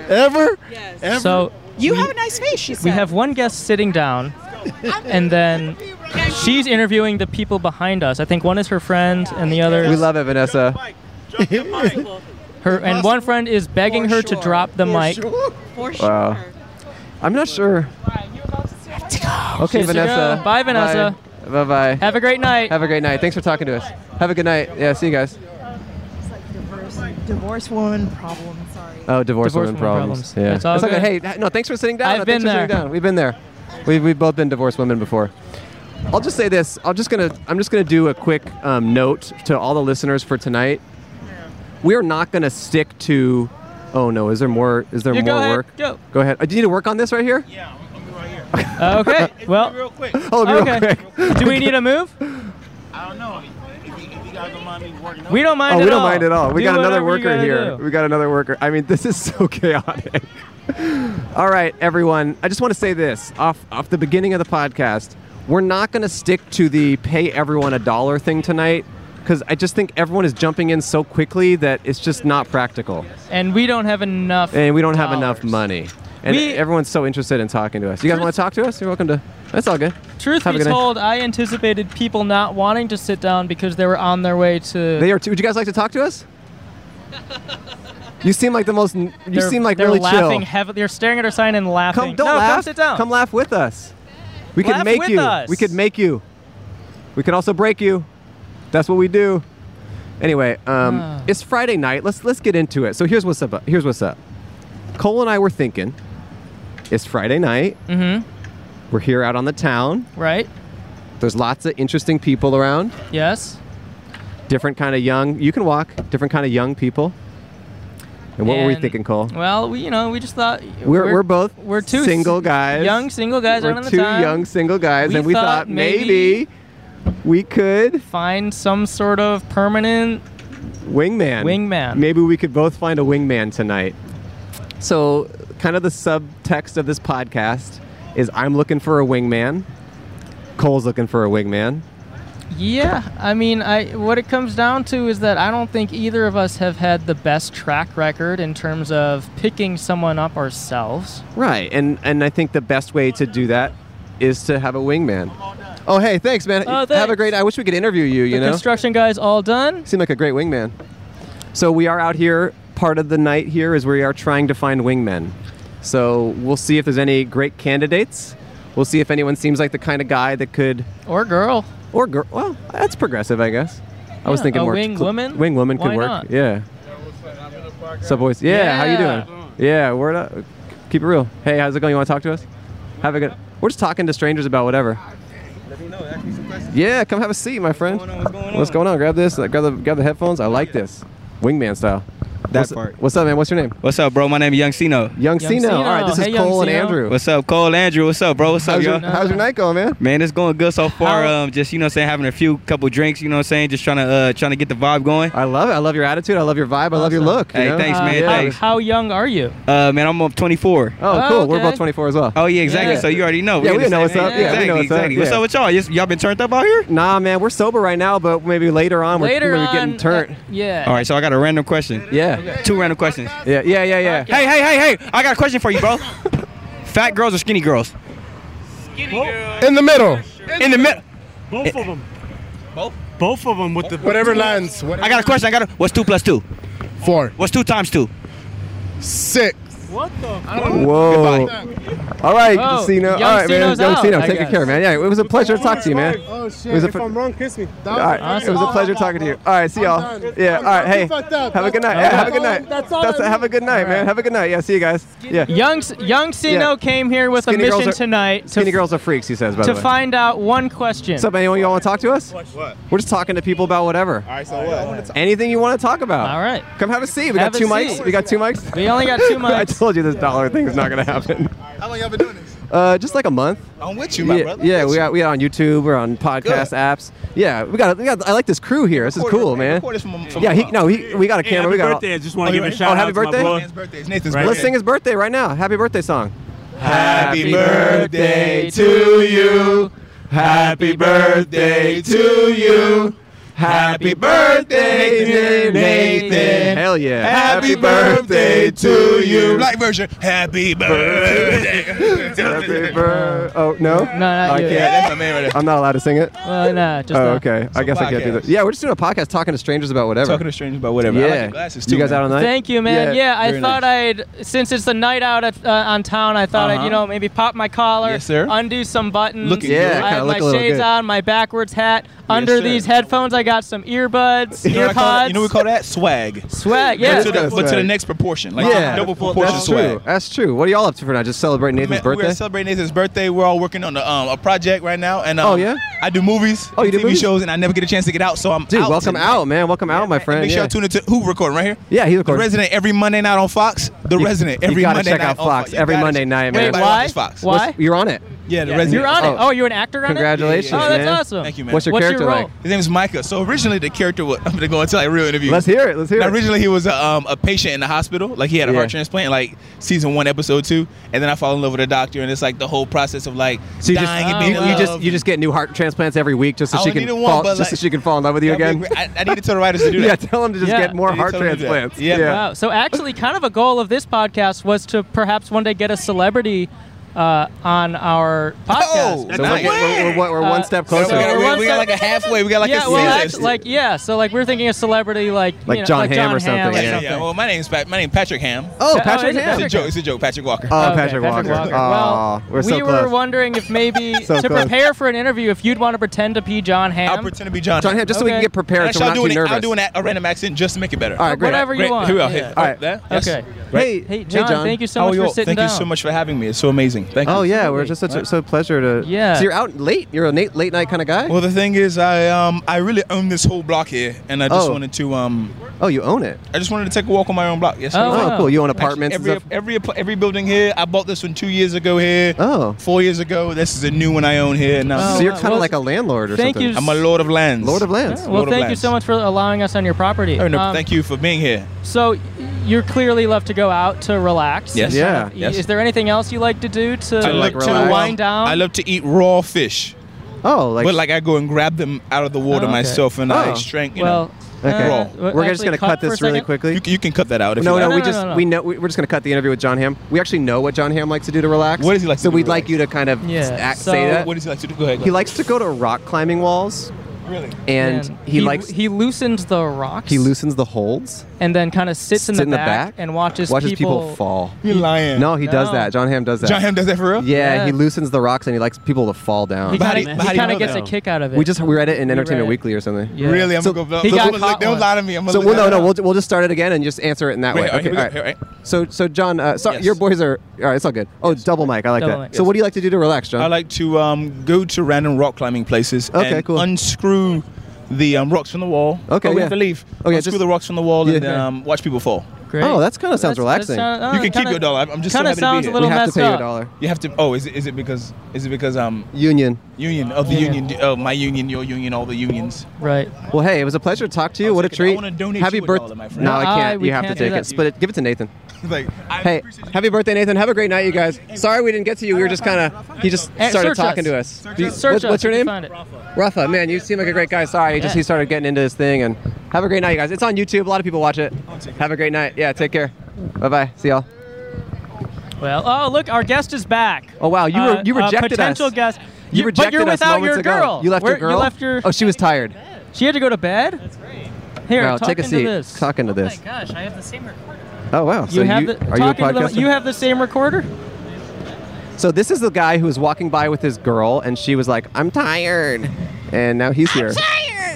Speaker 8: Ever?
Speaker 10: Yes.
Speaker 8: Ever?
Speaker 1: So
Speaker 10: You have a nice face, she said.
Speaker 1: we have one guest sitting down, and then she's interviewing the people behind us. I think one is her friend, and the
Speaker 2: we
Speaker 1: other
Speaker 2: love it, Vanessa.
Speaker 1: her, and one friend is begging her to drop the mic.
Speaker 10: For sure.
Speaker 2: Wow. I'm not sure. Okay,
Speaker 1: Yes, you
Speaker 2: Vanessa.
Speaker 1: go. Bye, Vanessa.
Speaker 2: Bye bye.
Speaker 1: Have a great night.
Speaker 2: Have a great night. Thanks for talking to us. Have a good night. Yeah, see you guys.
Speaker 9: Divorce woman problem. Sorry.
Speaker 2: Oh, divorce,
Speaker 1: Divorce
Speaker 2: woman,
Speaker 1: woman problems.
Speaker 2: problems. Yeah.
Speaker 1: It's all
Speaker 2: It's okay.
Speaker 1: good.
Speaker 2: Hey, no, thanks for sitting down.
Speaker 1: I've
Speaker 2: No,
Speaker 1: been
Speaker 2: thanks for sitting
Speaker 1: there.
Speaker 2: down. We've been there. We we've both been divorced women before. I'll just say this. I'll just gonna I'm just gonna do a quick um, note to all the listeners for tonight. We are not gonna stick to. Oh no! Is there more? Is there
Speaker 1: You
Speaker 2: more
Speaker 1: go ahead.
Speaker 2: work?
Speaker 1: Go.
Speaker 2: Go ahead. Uh, do you need to work on this right here?
Speaker 8: Yeah, I'm, I'm right here.
Speaker 1: Uh, [laughs] okay. Well.
Speaker 8: quick.
Speaker 2: Oh, real
Speaker 1: [laughs] Okay.
Speaker 2: quick.
Speaker 1: Do we need a move?
Speaker 8: I don't know. If you, if you guys don't mind me working
Speaker 1: We don't mind.
Speaker 2: Oh,
Speaker 1: at
Speaker 2: we don't
Speaker 1: all.
Speaker 2: mind at all. We
Speaker 1: Do
Speaker 2: got
Speaker 1: whatever
Speaker 2: another
Speaker 1: you
Speaker 2: worker
Speaker 1: gotta
Speaker 2: here.
Speaker 1: do.
Speaker 2: We got another worker. I mean, [laughs] this is so chaotic. [laughs] all right, everyone. I just want to say this off off the beginning of the podcast. We're not going to stick to the pay everyone a dollar thing tonight because I just think everyone is jumping in so quickly that it's just not practical,
Speaker 1: And we don't have enough.
Speaker 2: and we don't have enough
Speaker 1: dollars.
Speaker 2: money. And
Speaker 1: We-
Speaker 2: everyone's so interested in talking to us. You guys want to talk to us? You're welcome to. That's all good.
Speaker 1: Truth
Speaker 2: Have a
Speaker 1: be
Speaker 2: good night.
Speaker 1: told, I anticipated people not wanting to sit down because they were on their way to.
Speaker 2: They are too. Would you guys like to talk to us? You seem like the most. You
Speaker 1: they're-
Speaker 2: seem like
Speaker 1: they're
Speaker 2: really
Speaker 1: laughing
Speaker 2: chill.
Speaker 1: heavily. They're staring at our sign and laughing.
Speaker 2: Come, don't
Speaker 1: no,
Speaker 2: laugh.
Speaker 1: Come sit down.
Speaker 2: Come laugh with us. We
Speaker 1: Laugh
Speaker 2: could make
Speaker 1: with
Speaker 2: you.
Speaker 1: us.
Speaker 2: We could make you. We could also break you. That's what we do. Anyway, um,
Speaker 1: Ah.
Speaker 2: it's Friday night. Let's let's get into it. So here's what's up. Here's what's up. Cole and I were thinking, it's Friday night.
Speaker 1: Mm-hmm.
Speaker 2: We're here out on the town.
Speaker 1: Right.
Speaker 2: There's lots of interesting people around.
Speaker 1: Yes.
Speaker 2: Different kind of young. You can walk. Different kind of young people. And what were we
Speaker 1: And-
Speaker 2: thinking, Cole?
Speaker 1: Well, we you know we just thought
Speaker 2: We're, we're, both
Speaker 1: we're two
Speaker 2: single
Speaker 1: s-
Speaker 2: guys.
Speaker 1: young single guys
Speaker 2: We're
Speaker 1: out on the
Speaker 2: two
Speaker 1: town.
Speaker 2: young single guys,
Speaker 1: We
Speaker 2: and we
Speaker 1: thought
Speaker 2: thought maybe we could
Speaker 1: Find some sort of permanent.
Speaker 2: wingman.
Speaker 1: Wingman.
Speaker 2: Maybe we could both find a wingman tonight. So, kind of the subtext of this podcast is I'm looking for a wingman. Cole's looking for a wingman.
Speaker 1: Yeah, I mean, I what it comes down to is that I don't think either of us have had the best track record in terms of picking someone up ourselves.
Speaker 2: Right, and and I think the best way to do that is to have a wingman. Oh, hey, thanks, man.
Speaker 1: Oh,
Speaker 2: Have
Speaker 1: thanks.
Speaker 2: a great. I wish we could interview you. You
Speaker 1: the
Speaker 2: know,
Speaker 1: construction guys all done.
Speaker 2: Seem like a great wingman. So we are out here. Part of the night here is we are trying to find wingmen. So we'll see if there's any great candidates. We'll see if anyone seems like the kind of guy that could,
Speaker 1: Or girl.
Speaker 2: or girl. Well, that's progressive, I guess. I was
Speaker 1: Yeah,
Speaker 2: thinking
Speaker 1: a
Speaker 2: more
Speaker 1: wing woman?
Speaker 2: Wing woman could
Speaker 1: Why
Speaker 2: work.
Speaker 1: not?
Speaker 2: Yeah. Sup, boys? Yeah,
Speaker 1: Yeah.
Speaker 2: How you doing? Yeah. Word up. Keep it real. Hey, how's it going? You want to talk to us? Have a good. We're just talking to strangers about whatever. Yeah, come have a seat, my friend.
Speaker 8: going on? What's going
Speaker 2: What's
Speaker 8: on?
Speaker 2: going on? Grab this. uh, Grab the grab the headphones. I like this, wingman style.
Speaker 8: That
Speaker 2: what's,
Speaker 8: part.
Speaker 2: What's up, man? What's your name?
Speaker 8: What's up, bro? My name is Young Sino.
Speaker 1: Young
Speaker 2: Young Sino. All right,
Speaker 1: Sino.
Speaker 2: this
Speaker 1: Hey,
Speaker 2: is
Speaker 1: Young
Speaker 2: Cole and
Speaker 1: Sino.
Speaker 2: Andrew.
Speaker 8: What's up, Cole Andrew? What's up, bro? What's up,
Speaker 2: how's your,
Speaker 8: y'all?
Speaker 2: how's your night going, man?
Speaker 8: Man, it's going good so far.
Speaker 1: How-
Speaker 8: Um, just you know, what I'm saying having a few couple drinks. You know, what I'm saying just trying to uh, trying to get the vibe going.
Speaker 2: I love it. I love your attitude. I love your vibe. I love your
Speaker 1: Awesome.
Speaker 2: look. you
Speaker 8: Hey,
Speaker 2: know?
Speaker 8: thanks,
Speaker 1: Uh,
Speaker 8: man.
Speaker 1: how-
Speaker 8: Thanks.
Speaker 1: How young are you?
Speaker 8: Uh, man, I'm up 24.
Speaker 2: Oh,
Speaker 1: Oh,
Speaker 2: cool. We're both
Speaker 1: okay.
Speaker 2: 24 as well.
Speaker 8: Oh yeah, exactly.
Speaker 1: Yeah.
Speaker 8: So you already know.
Speaker 2: Yeah,
Speaker 8: in
Speaker 2: we
Speaker 8: the
Speaker 2: know
Speaker 8: same
Speaker 2: what's
Speaker 8: age.
Speaker 2: up.
Speaker 1: Yeah, we
Speaker 8: exactly,
Speaker 2: know what's up.
Speaker 8: exactly. What's
Speaker 2: Yeah.
Speaker 8: up with y'all? Yes, Y'all been turned up out here?
Speaker 2: Nah, man, we're sober right now, but maybe later on we're,
Speaker 1: Later
Speaker 2: we're
Speaker 1: on.
Speaker 2: getting turned.
Speaker 1: uh, yeah.
Speaker 8: All right, so I got a random question.
Speaker 2: yeah.
Speaker 8: Two random questions.
Speaker 2: yeah, yeah, yeah, yeah.
Speaker 8: Hey, hey, hey, hey! I got a question for you,
Speaker 2: [laughs]
Speaker 8: bro. Fat girls or skinny girls?
Speaker 11: In the middle.
Speaker 8: In the middle.
Speaker 11: Both of them. Both? Both of them with the. Whatever lands. Whatever.
Speaker 8: I got a question. I got a. What's two plus two?
Speaker 11: Four.
Speaker 8: What's two times two?
Speaker 11: Six.
Speaker 2: Whoa. All right,
Speaker 1: Whoa,
Speaker 2: Sino. All
Speaker 1: Young
Speaker 2: right, man.
Speaker 1: Sino's
Speaker 2: Young
Speaker 11: Oh.
Speaker 1: out,
Speaker 2: Sino,
Speaker 1: I
Speaker 2: take good
Speaker 1: guess.
Speaker 2: care, man. Yeah, it was a pleasure to talk to you, man.
Speaker 12: Oh shit!
Speaker 2: It was a
Speaker 12: if
Speaker 2: pl-
Speaker 12: I'm wrong, kiss me.
Speaker 2: All right. It was a pleasure talking to you. All right. See y'all. Yeah. All right. Hey. Have a good night. Yeah, have a good night.
Speaker 12: That's all. I
Speaker 2: have a good night, man. Have a good night. Yeah. See you guys. Yeah.
Speaker 1: Young Young Sino came here with a
Speaker 2: Skinny girls
Speaker 1: mission
Speaker 2: are-
Speaker 1: tonight to,
Speaker 2: Skinny girls are freaks. He says. By
Speaker 1: to
Speaker 2: the way.
Speaker 1: find out one question.
Speaker 2: What's up? Anyone you all want to talk to us?
Speaker 6: What?
Speaker 2: We're just talking to people about whatever.
Speaker 6: All right, so what?
Speaker 2: Anything you want to talk about.
Speaker 1: All right.
Speaker 2: Come have a seat. We
Speaker 6: Have
Speaker 2: got
Speaker 6: a
Speaker 2: two
Speaker 6: seat.
Speaker 2: mics. We got two mics.
Speaker 1: We only got two
Speaker 2: [laughs] I
Speaker 1: mics.
Speaker 2: told you this dollar thing is not going to happen.
Speaker 6: How long y'all been doing this?
Speaker 2: Uh, just like a month.
Speaker 6: I'm with you, my
Speaker 2: yeah,
Speaker 6: brother.
Speaker 2: Yeah, we got we are on YouTube, we're on podcast apps. Yeah, we got, we got. I like this crew here. This is
Speaker 6: Record it-
Speaker 2: cool, man.
Speaker 6: record this from- from
Speaker 2: yeah, he,
Speaker 6: above.
Speaker 2: no, he, we got a
Speaker 6: Hey,
Speaker 2: camera.
Speaker 6: happy
Speaker 2: we got.
Speaker 6: birthday.
Speaker 2: All,
Speaker 6: I just wanna give a
Speaker 2: Oh,
Speaker 6: shout-out
Speaker 2: happy
Speaker 6: to my
Speaker 2: birthday!
Speaker 6: boy. Nathan's birthday. It's Nathan's
Speaker 2: Let's
Speaker 6: birthday.
Speaker 2: sing his birthday right now. Happy birthday song.
Speaker 6: Happy birthday to you. Happy birthday to you. Happy birthday, dear Nathan.
Speaker 2: Hell yeah.
Speaker 6: Happy birthday to you. Black version. Happy birthday.
Speaker 2: Happy birthday. Oh no. No,
Speaker 1: not
Speaker 2: I
Speaker 1: you.
Speaker 2: can't.
Speaker 1: Yeah, that's my
Speaker 6: man
Speaker 2: I'm not allowed to sing it.
Speaker 1: Well, Uh, nah, just
Speaker 2: oh,
Speaker 1: now.
Speaker 2: okay. I guess I can't do
Speaker 6: podcast.
Speaker 2: that. Yeah, we're just doing a podcast talking to strangers about whatever.
Speaker 6: Talking to strangers about whatever. I
Speaker 2: Yeah.
Speaker 6: like your glasses, too,
Speaker 2: you guys
Speaker 6: man.
Speaker 2: out all night?
Speaker 1: Thank you, man. Yeah, I
Speaker 6: very
Speaker 1: thought I'd since it's the night out at, uh, on town, I thought I'd
Speaker 6: Uh-huh.
Speaker 1: you know maybe pop my collar,
Speaker 6: Yes, sir.
Speaker 1: undo some buttons.
Speaker 6: Looking Yeah, good.
Speaker 1: I
Speaker 6: kinda
Speaker 1: have
Speaker 6: look
Speaker 1: my
Speaker 6: a little
Speaker 1: shades
Speaker 6: good.
Speaker 1: on, my backwards hat. Under
Speaker 6: sir.
Speaker 1: these headphones, I got some earbuds,
Speaker 6: [laughs] You know, what I call that?
Speaker 1: earpods.
Speaker 6: you know what we call that? Swag.
Speaker 1: Swag,
Speaker 6: But
Speaker 1: yeah.
Speaker 6: to the- But to, the, next proportion. Like
Speaker 2: yeah.
Speaker 6: double
Speaker 2: Well,
Speaker 6: proportion
Speaker 2: That's
Speaker 6: swag.
Speaker 2: true. That's true. What are y'all up to for now? Just celebrating
Speaker 6: Man,
Speaker 2: Nathan's
Speaker 6: We're
Speaker 2: birthday?
Speaker 6: celebrating Nathan's birthday. We're all working on the, um, a project right now. And um,
Speaker 2: Oh, yeah?
Speaker 6: I do movies,
Speaker 2: Oh, you do
Speaker 6: TV
Speaker 2: movies?
Speaker 6: shows, and I never get a chance to get out. So I'm
Speaker 2: Dude,
Speaker 6: out
Speaker 2: welcome
Speaker 6: tonight.
Speaker 2: out, man. Welcome out, my friend.
Speaker 6: Make sure
Speaker 2: yeah.
Speaker 6: y'all tune into Hoover recording right here.
Speaker 2: Yeah, he
Speaker 6: The
Speaker 2: recorded.
Speaker 6: resident every Monday night on Fox. The resident
Speaker 2: you
Speaker 6: every
Speaker 2: gotta
Speaker 6: Monday
Speaker 2: check
Speaker 6: night
Speaker 2: out
Speaker 6: on
Speaker 2: Fox
Speaker 6: You
Speaker 2: every
Speaker 6: gotta
Speaker 2: Monday night,
Speaker 6: check-
Speaker 2: man.
Speaker 6: Everybody
Speaker 1: Why?
Speaker 6: watches Fox.
Speaker 1: Why?
Speaker 2: What's- You're on it.
Speaker 6: Yeah, the
Speaker 1: Yeah,
Speaker 6: resident.
Speaker 1: You're on it. Oh, you're an actor on
Speaker 2: Congratulations,
Speaker 1: it? Oh, that's
Speaker 2: man.
Speaker 1: awesome.
Speaker 6: Thank you, man.
Speaker 2: What's your character
Speaker 1: role?
Speaker 2: like?
Speaker 6: His name is Micah. So originally the character was [laughs] I'm gonna go into like real interview.
Speaker 2: Let's hear it. Let's hear
Speaker 6: Now,
Speaker 2: it.
Speaker 6: Originally he was a, um, a patient in the hospital. Like he had a
Speaker 2: Yeah.
Speaker 6: heart transplant. Like season one, episode two, and then I fall in love with a doctor, and it's like the whole process of like
Speaker 2: So you just,
Speaker 6: dying and
Speaker 2: you,
Speaker 6: being
Speaker 2: you
Speaker 6: loved.
Speaker 2: just you just get new heart transplants every week just so
Speaker 6: I
Speaker 2: she
Speaker 6: only
Speaker 2: can
Speaker 6: needed one,
Speaker 2: fall,
Speaker 6: but,
Speaker 2: just so
Speaker 6: like,
Speaker 2: she can fall in love with you
Speaker 6: That'd
Speaker 2: again.
Speaker 6: be great. I, I need to tell the writers to do that.
Speaker 2: [laughs] Yeah, tell them to just
Speaker 1: Yeah.
Speaker 2: get more
Speaker 6: They
Speaker 2: heart
Speaker 6: tell them to do that.
Speaker 2: transplants.
Speaker 6: Yeah.
Speaker 1: Wow. So actually, kind of a goal of this podcast was to perhaps one day get a celebrity uh, on our
Speaker 6: Oh,
Speaker 1: podcast.
Speaker 2: So we're, we're, we're, we're, we're
Speaker 1: Uh,
Speaker 2: one step closer.
Speaker 6: we got,
Speaker 1: We're
Speaker 6: we-
Speaker 1: one
Speaker 6: we got
Speaker 1: step-
Speaker 6: like a halfway. We got like
Speaker 1: yeah,
Speaker 6: a
Speaker 1: well,
Speaker 6: C
Speaker 1: act-
Speaker 6: list.
Speaker 1: like yeah. So like we're thinking a celebrity like you
Speaker 2: Like
Speaker 1: know,
Speaker 2: John
Speaker 1: like
Speaker 2: Hamm
Speaker 1: John
Speaker 2: or something,
Speaker 1: Hamm
Speaker 6: yeah, yeah.
Speaker 1: something.
Speaker 6: Well, my name's Pat. My name's Patrick Ham.
Speaker 2: Oh,
Speaker 1: Yeah,
Speaker 2: Patrick
Speaker 1: is it
Speaker 2: Ham.
Speaker 6: It's a joke. It's a joke. Patrick Walker.
Speaker 2: Oh,
Speaker 1: Okay,
Speaker 2: Patrick Walker.
Speaker 1: Well,
Speaker 2: Oh, we're so
Speaker 1: we were
Speaker 2: close.
Speaker 1: wondering if maybe
Speaker 2: [laughs] So
Speaker 1: to
Speaker 2: close.
Speaker 1: prepare for an interview, if you'd want to pretend to be John Hamm.
Speaker 6: I'll pretend to be John.
Speaker 2: John Hamm, just so we can
Speaker 1: Okay.
Speaker 2: get prepared, so
Speaker 6: Actually,
Speaker 2: we're
Speaker 6: I'll
Speaker 2: not
Speaker 6: do
Speaker 2: too
Speaker 6: an, I'll
Speaker 2: nervous.
Speaker 6: do an a, a random accent just to make it better.
Speaker 2: All right, great.
Speaker 1: Whatever you
Speaker 6: Great.
Speaker 1: want.
Speaker 6: Here we are.
Speaker 1: Yeah.
Speaker 6: Here.
Speaker 2: All right.
Speaker 6: There. Yes.
Speaker 1: Okay.
Speaker 6: Right.
Speaker 2: Hey,
Speaker 1: Hey, John,
Speaker 2: John.
Speaker 1: thank you so
Speaker 6: How
Speaker 1: much
Speaker 6: are you
Speaker 1: for
Speaker 6: all?
Speaker 1: sitting
Speaker 6: Thank
Speaker 1: down.
Speaker 6: you so much for having me. It's so amazing. Thank you.
Speaker 2: Oh yeah, we're just such a, so pleasure to.
Speaker 1: Yeah.
Speaker 2: So you're out late. You're a late late night kind of guy.
Speaker 6: Well, the thing is, I um I really own this whole block here, and I just
Speaker 2: Oh.
Speaker 6: wanted to um
Speaker 2: oh, you own it.
Speaker 6: I just wanted to take a walk on my own block. Yes.
Speaker 1: Oh,
Speaker 6: I
Speaker 1: wow.
Speaker 6: did.
Speaker 2: Oh, cool. You own apartments
Speaker 6: Actually,
Speaker 2: and
Speaker 6: every,
Speaker 2: stuff.
Speaker 6: every apl- every building here. I bought this one two years ago here.
Speaker 2: Oh.
Speaker 6: Four years ago. This is a new one I own here. Now
Speaker 2: so you're
Speaker 1: wow.
Speaker 2: kind of
Speaker 1: Well,
Speaker 2: like a landlord or
Speaker 1: thank
Speaker 2: something.
Speaker 1: you
Speaker 6: I'm a lord of lands.
Speaker 2: Lord of lands.
Speaker 1: well,
Speaker 6: Lord of
Speaker 1: thank you
Speaker 6: Lands.
Speaker 1: so much for allowing us on your property.
Speaker 6: Oh, no,
Speaker 1: Um,
Speaker 6: thank you for being here.
Speaker 1: So you clearly love to go out to relax.
Speaker 6: Yes.
Speaker 1: and kind
Speaker 2: Yeah.
Speaker 1: of-
Speaker 6: Yes.
Speaker 1: Is there anything else you like to do to,
Speaker 6: I love
Speaker 1: to wind down?
Speaker 6: I love to eat raw fish,
Speaker 2: Oh, like.
Speaker 6: but like I go and grab them out of the water
Speaker 1: Oh, okay.
Speaker 6: myself, and I
Speaker 2: Oh.
Speaker 6: extract. You
Speaker 1: well,
Speaker 2: okay.
Speaker 1: uh,
Speaker 6: Raw.
Speaker 2: we're just
Speaker 1: actually
Speaker 2: gonna cut,
Speaker 1: for a
Speaker 2: this
Speaker 1: second.
Speaker 2: really
Speaker 6: know.
Speaker 2: quickly.
Speaker 6: You, c- you can cut that out. If
Speaker 2: no,
Speaker 6: you like.
Speaker 2: no,
Speaker 1: No,
Speaker 2: we
Speaker 1: no,
Speaker 2: just
Speaker 1: no, no.
Speaker 2: we know we- we're just gonna cut the interview with John Hamm. We actually know what John Hamm likes to do to relax.
Speaker 6: What does he like to
Speaker 2: So
Speaker 6: do to
Speaker 2: we'd like
Speaker 6: relax?
Speaker 2: you to kind of
Speaker 1: Yeah,
Speaker 2: act,
Speaker 1: so-
Speaker 2: say that.
Speaker 6: What does he like to do? Go ahead.
Speaker 2: He likes to go to rock climbing walls,
Speaker 6: really.
Speaker 2: and
Speaker 1: Man,
Speaker 2: he likes
Speaker 1: he loosens the rocks.
Speaker 2: he loosens the holds.
Speaker 1: and then kind of sits, in, the, back and watches, people,
Speaker 2: fall.
Speaker 6: You're lying.
Speaker 2: No, he does
Speaker 1: No.
Speaker 2: that. John Hamm does that.
Speaker 6: John Hamm does that for real.
Speaker 2: Yeah,
Speaker 1: Yeah.
Speaker 2: he loosens the rocks and he likes people to fall down.
Speaker 1: He
Speaker 6: But how
Speaker 1: kind
Speaker 6: do
Speaker 1: of
Speaker 6: you- but how do you know
Speaker 1: gets
Speaker 6: that?
Speaker 1: a kick out of it.
Speaker 2: we just we read it in Entertainment
Speaker 1: read it.
Speaker 2: Weekly or something.
Speaker 1: Yeah.
Speaker 6: Really, I'm
Speaker 2: So-
Speaker 6: gonna go.
Speaker 1: He
Speaker 6: so
Speaker 1: got
Speaker 6: I'm gonna look,
Speaker 1: caught
Speaker 6: don't
Speaker 1: one.
Speaker 6: lie to me. I'm gonna
Speaker 2: So
Speaker 6: look
Speaker 2: well,
Speaker 6: that
Speaker 2: no, no,
Speaker 6: up.
Speaker 2: we'll, we'll just start it again and just answer it in that
Speaker 6: Wait,
Speaker 2: way.
Speaker 6: all right, here we go,
Speaker 2: all
Speaker 6: here, right.
Speaker 2: So, so John, uh, so
Speaker 6: Yes.
Speaker 2: your boys are all right. It's all good. Oh, double mic. I like
Speaker 1: Double
Speaker 2: that.
Speaker 1: mic.
Speaker 2: So, what do you like to do to relax, John?
Speaker 6: I like to um, go to random rock climbing places
Speaker 2: Okay,
Speaker 6: and
Speaker 2: cool.
Speaker 6: unscrew the um, rocks from the wall.
Speaker 2: Okay,
Speaker 6: oh, we
Speaker 2: yeah.
Speaker 6: have to leave.
Speaker 2: Oh, yeah,
Speaker 6: unscrew
Speaker 2: just-
Speaker 6: the rocks from the wall
Speaker 2: Yeah.
Speaker 6: and then, um, watch people fall.
Speaker 1: Great.
Speaker 2: Oh, that's kinda sounds relaxing.
Speaker 6: You can keep your dollar. I'm- I'm just so
Speaker 1: kind of
Speaker 6: happy to be
Speaker 1: uh, sounds
Speaker 6: here.
Speaker 1: a little
Speaker 2: we have to
Speaker 1: messed
Speaker 2: pay you
Speaker 1: up.
Speaker 2: a dollar.
Speaker 6: You have to. Oh, is it, is it because is it because um
Speaker 2: Union.
Speaker 6: union of the union? Oh, my union, your union, all the
Speaker 1: [laughs]
Speaker 6: unions.
Speaker 1: Right.
Speaker 2: Well, hey, it was a pleasure to talk to you.
Speaker 6: I'll
Speaker 2: What a
Speaker 6: take it. I
Speaker 2: treat!
Speaker 6: wanna donate
Speaker 2: Happy
Speaker 6: you a dollar,
Speaker 2: birthday!
Speaker 6: my friend.
Speaker 2: No, I
Speaker 1: Nuh-uh,
Speaker 2: can't.
Speaker 1: we
Speaker 2: You have to
Speaker 1: can't do
Speaker 2: take
Speaker 1: that.
Speaker 2: it. Split it. Give it to Nathan.
Speaker 6: [laughs] like I
Speaker 2: Hey,
Speaker 6: appreciate you.
Speaker 2: happy birthday, Nathan. Have a great night, you guys. Sorry we didn't get to you. We were just kind of, he just
Speaker 1: Hey,
Speaker 2: started
Speaker 1: search
Speaker 2: talking
Speaker 1: us.
Speaker 2: to us.
Speaker 1: Search
Speaker 2: Do you-
Speaker 1: us. Search
Speaker 2: what-
Speaker 1: us.
Speaker 2: what's your
Speaker 1: You
Speaker 2: name?
Speaker 1: can find
Speaker 2: Rafa, man, you seem like a great guy. Sorry, he just
Speaker 1: Yeah.
Speaker 2: he started getting into this thing and have a great night, you guys. It's on YouTube. A lot of people watch it. Have a great night. Yeah, take care. Bye bye. See y'all.
Speaker 1: Well, oh look, our guest is back.
Speaker 2: Oh wow, you
Speaker 1: Uh,
Speaker 2: were you
Speaker 1: a
Speaker 2: rejected
Speaker 1: potential
Speaker 2: us.
Speaker 1: guest.
Speaker 2: You rejected
Speaker 1: but you're
Speaker 2: us
Speaker 1: without
Speaker 2: moments
Speaker 1: your
Speaker 2: ago.
Speaker 1: girl.
Speaker 2: You left
Speaker 1: Where-
Speaker 2: your girl.
Speaker 1: You left your.
Speaker 2: Oh, she was tired.
Speaker 1: She had to go to bed. That's great. Oh Here,
Speaker 2: Girl,
Speaker 1: talk
Speaker 2: take a
Speaker 1: into
Speaker 2: seat.
Speaker 1: this.
Speaker 2: Talk into this.
Speaker 13: gosh, I have the same recorder.
Speaker 2: Oh wow. So
Speaker 1: you have the,
Speaker 2: are you a
Speaker 1: talk into the-
Speaker 2: podcaster?
Speaker 1: you have the same
Speaker 2: [laughs]
Speaker 1: recorder?
Speaker 2: So this is the guy who was walking by with his girl, and she was like, "I'm tired," and now he's here.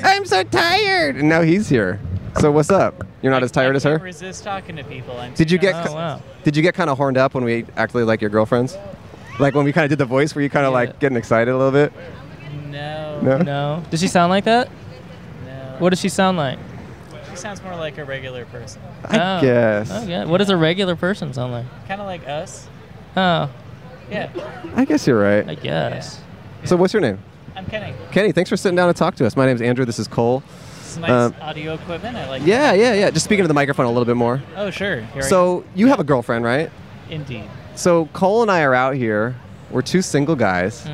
Speaker 2: I'm so tired. And now he's here. So what's up? You're not as tired as
Speaker 12: can't
Speaker 2: her.
Speaker 12: resist talking to people. I'm
Speaker 2: Did you get
Speaker 12: Oh, wow.
Speaker 2: did you get kind of horned up when we acted like your girlfriends? Like when we kind of did the voice, were you kind of like getting excited a little bit?
Speaker 12: No.
Speaker 2: No.
Speaker 1: No. Does she sound like that? No. What does she sound like?
Speaker 12: She sounds more like a regular person.
Speaker 1: I
Speaker 2: guess.
Speaker 1: Okay. Oh. What does a regular person sound like?
Speaker 12: Kind of like us.
Speaker 1: Oh,
Speaker 12: Yeah.
Speaker 2: I guess you're right. I
Speaker 1: guess.
Speaker 2: So what's your name?
Speaker 12: I'm Kenny.
Speaker 2: Kenny, thanks for sitting down and talk to us. My name's Andrew. This is Cole.
Speaker 12: It's nice
Speaker 2: Um,
Speaker 12: audio equipment. I like.
Speaker 2: yeah, yeah, yeah. Just speaking to the microphone a little bit more.
Speaker 12: Oh, sure. Here I
Speaker 2: so you have a girlfriend, right?
Speaker 12: Indeed.
Speaker 2: So Cole and I are out here. We're two single guys,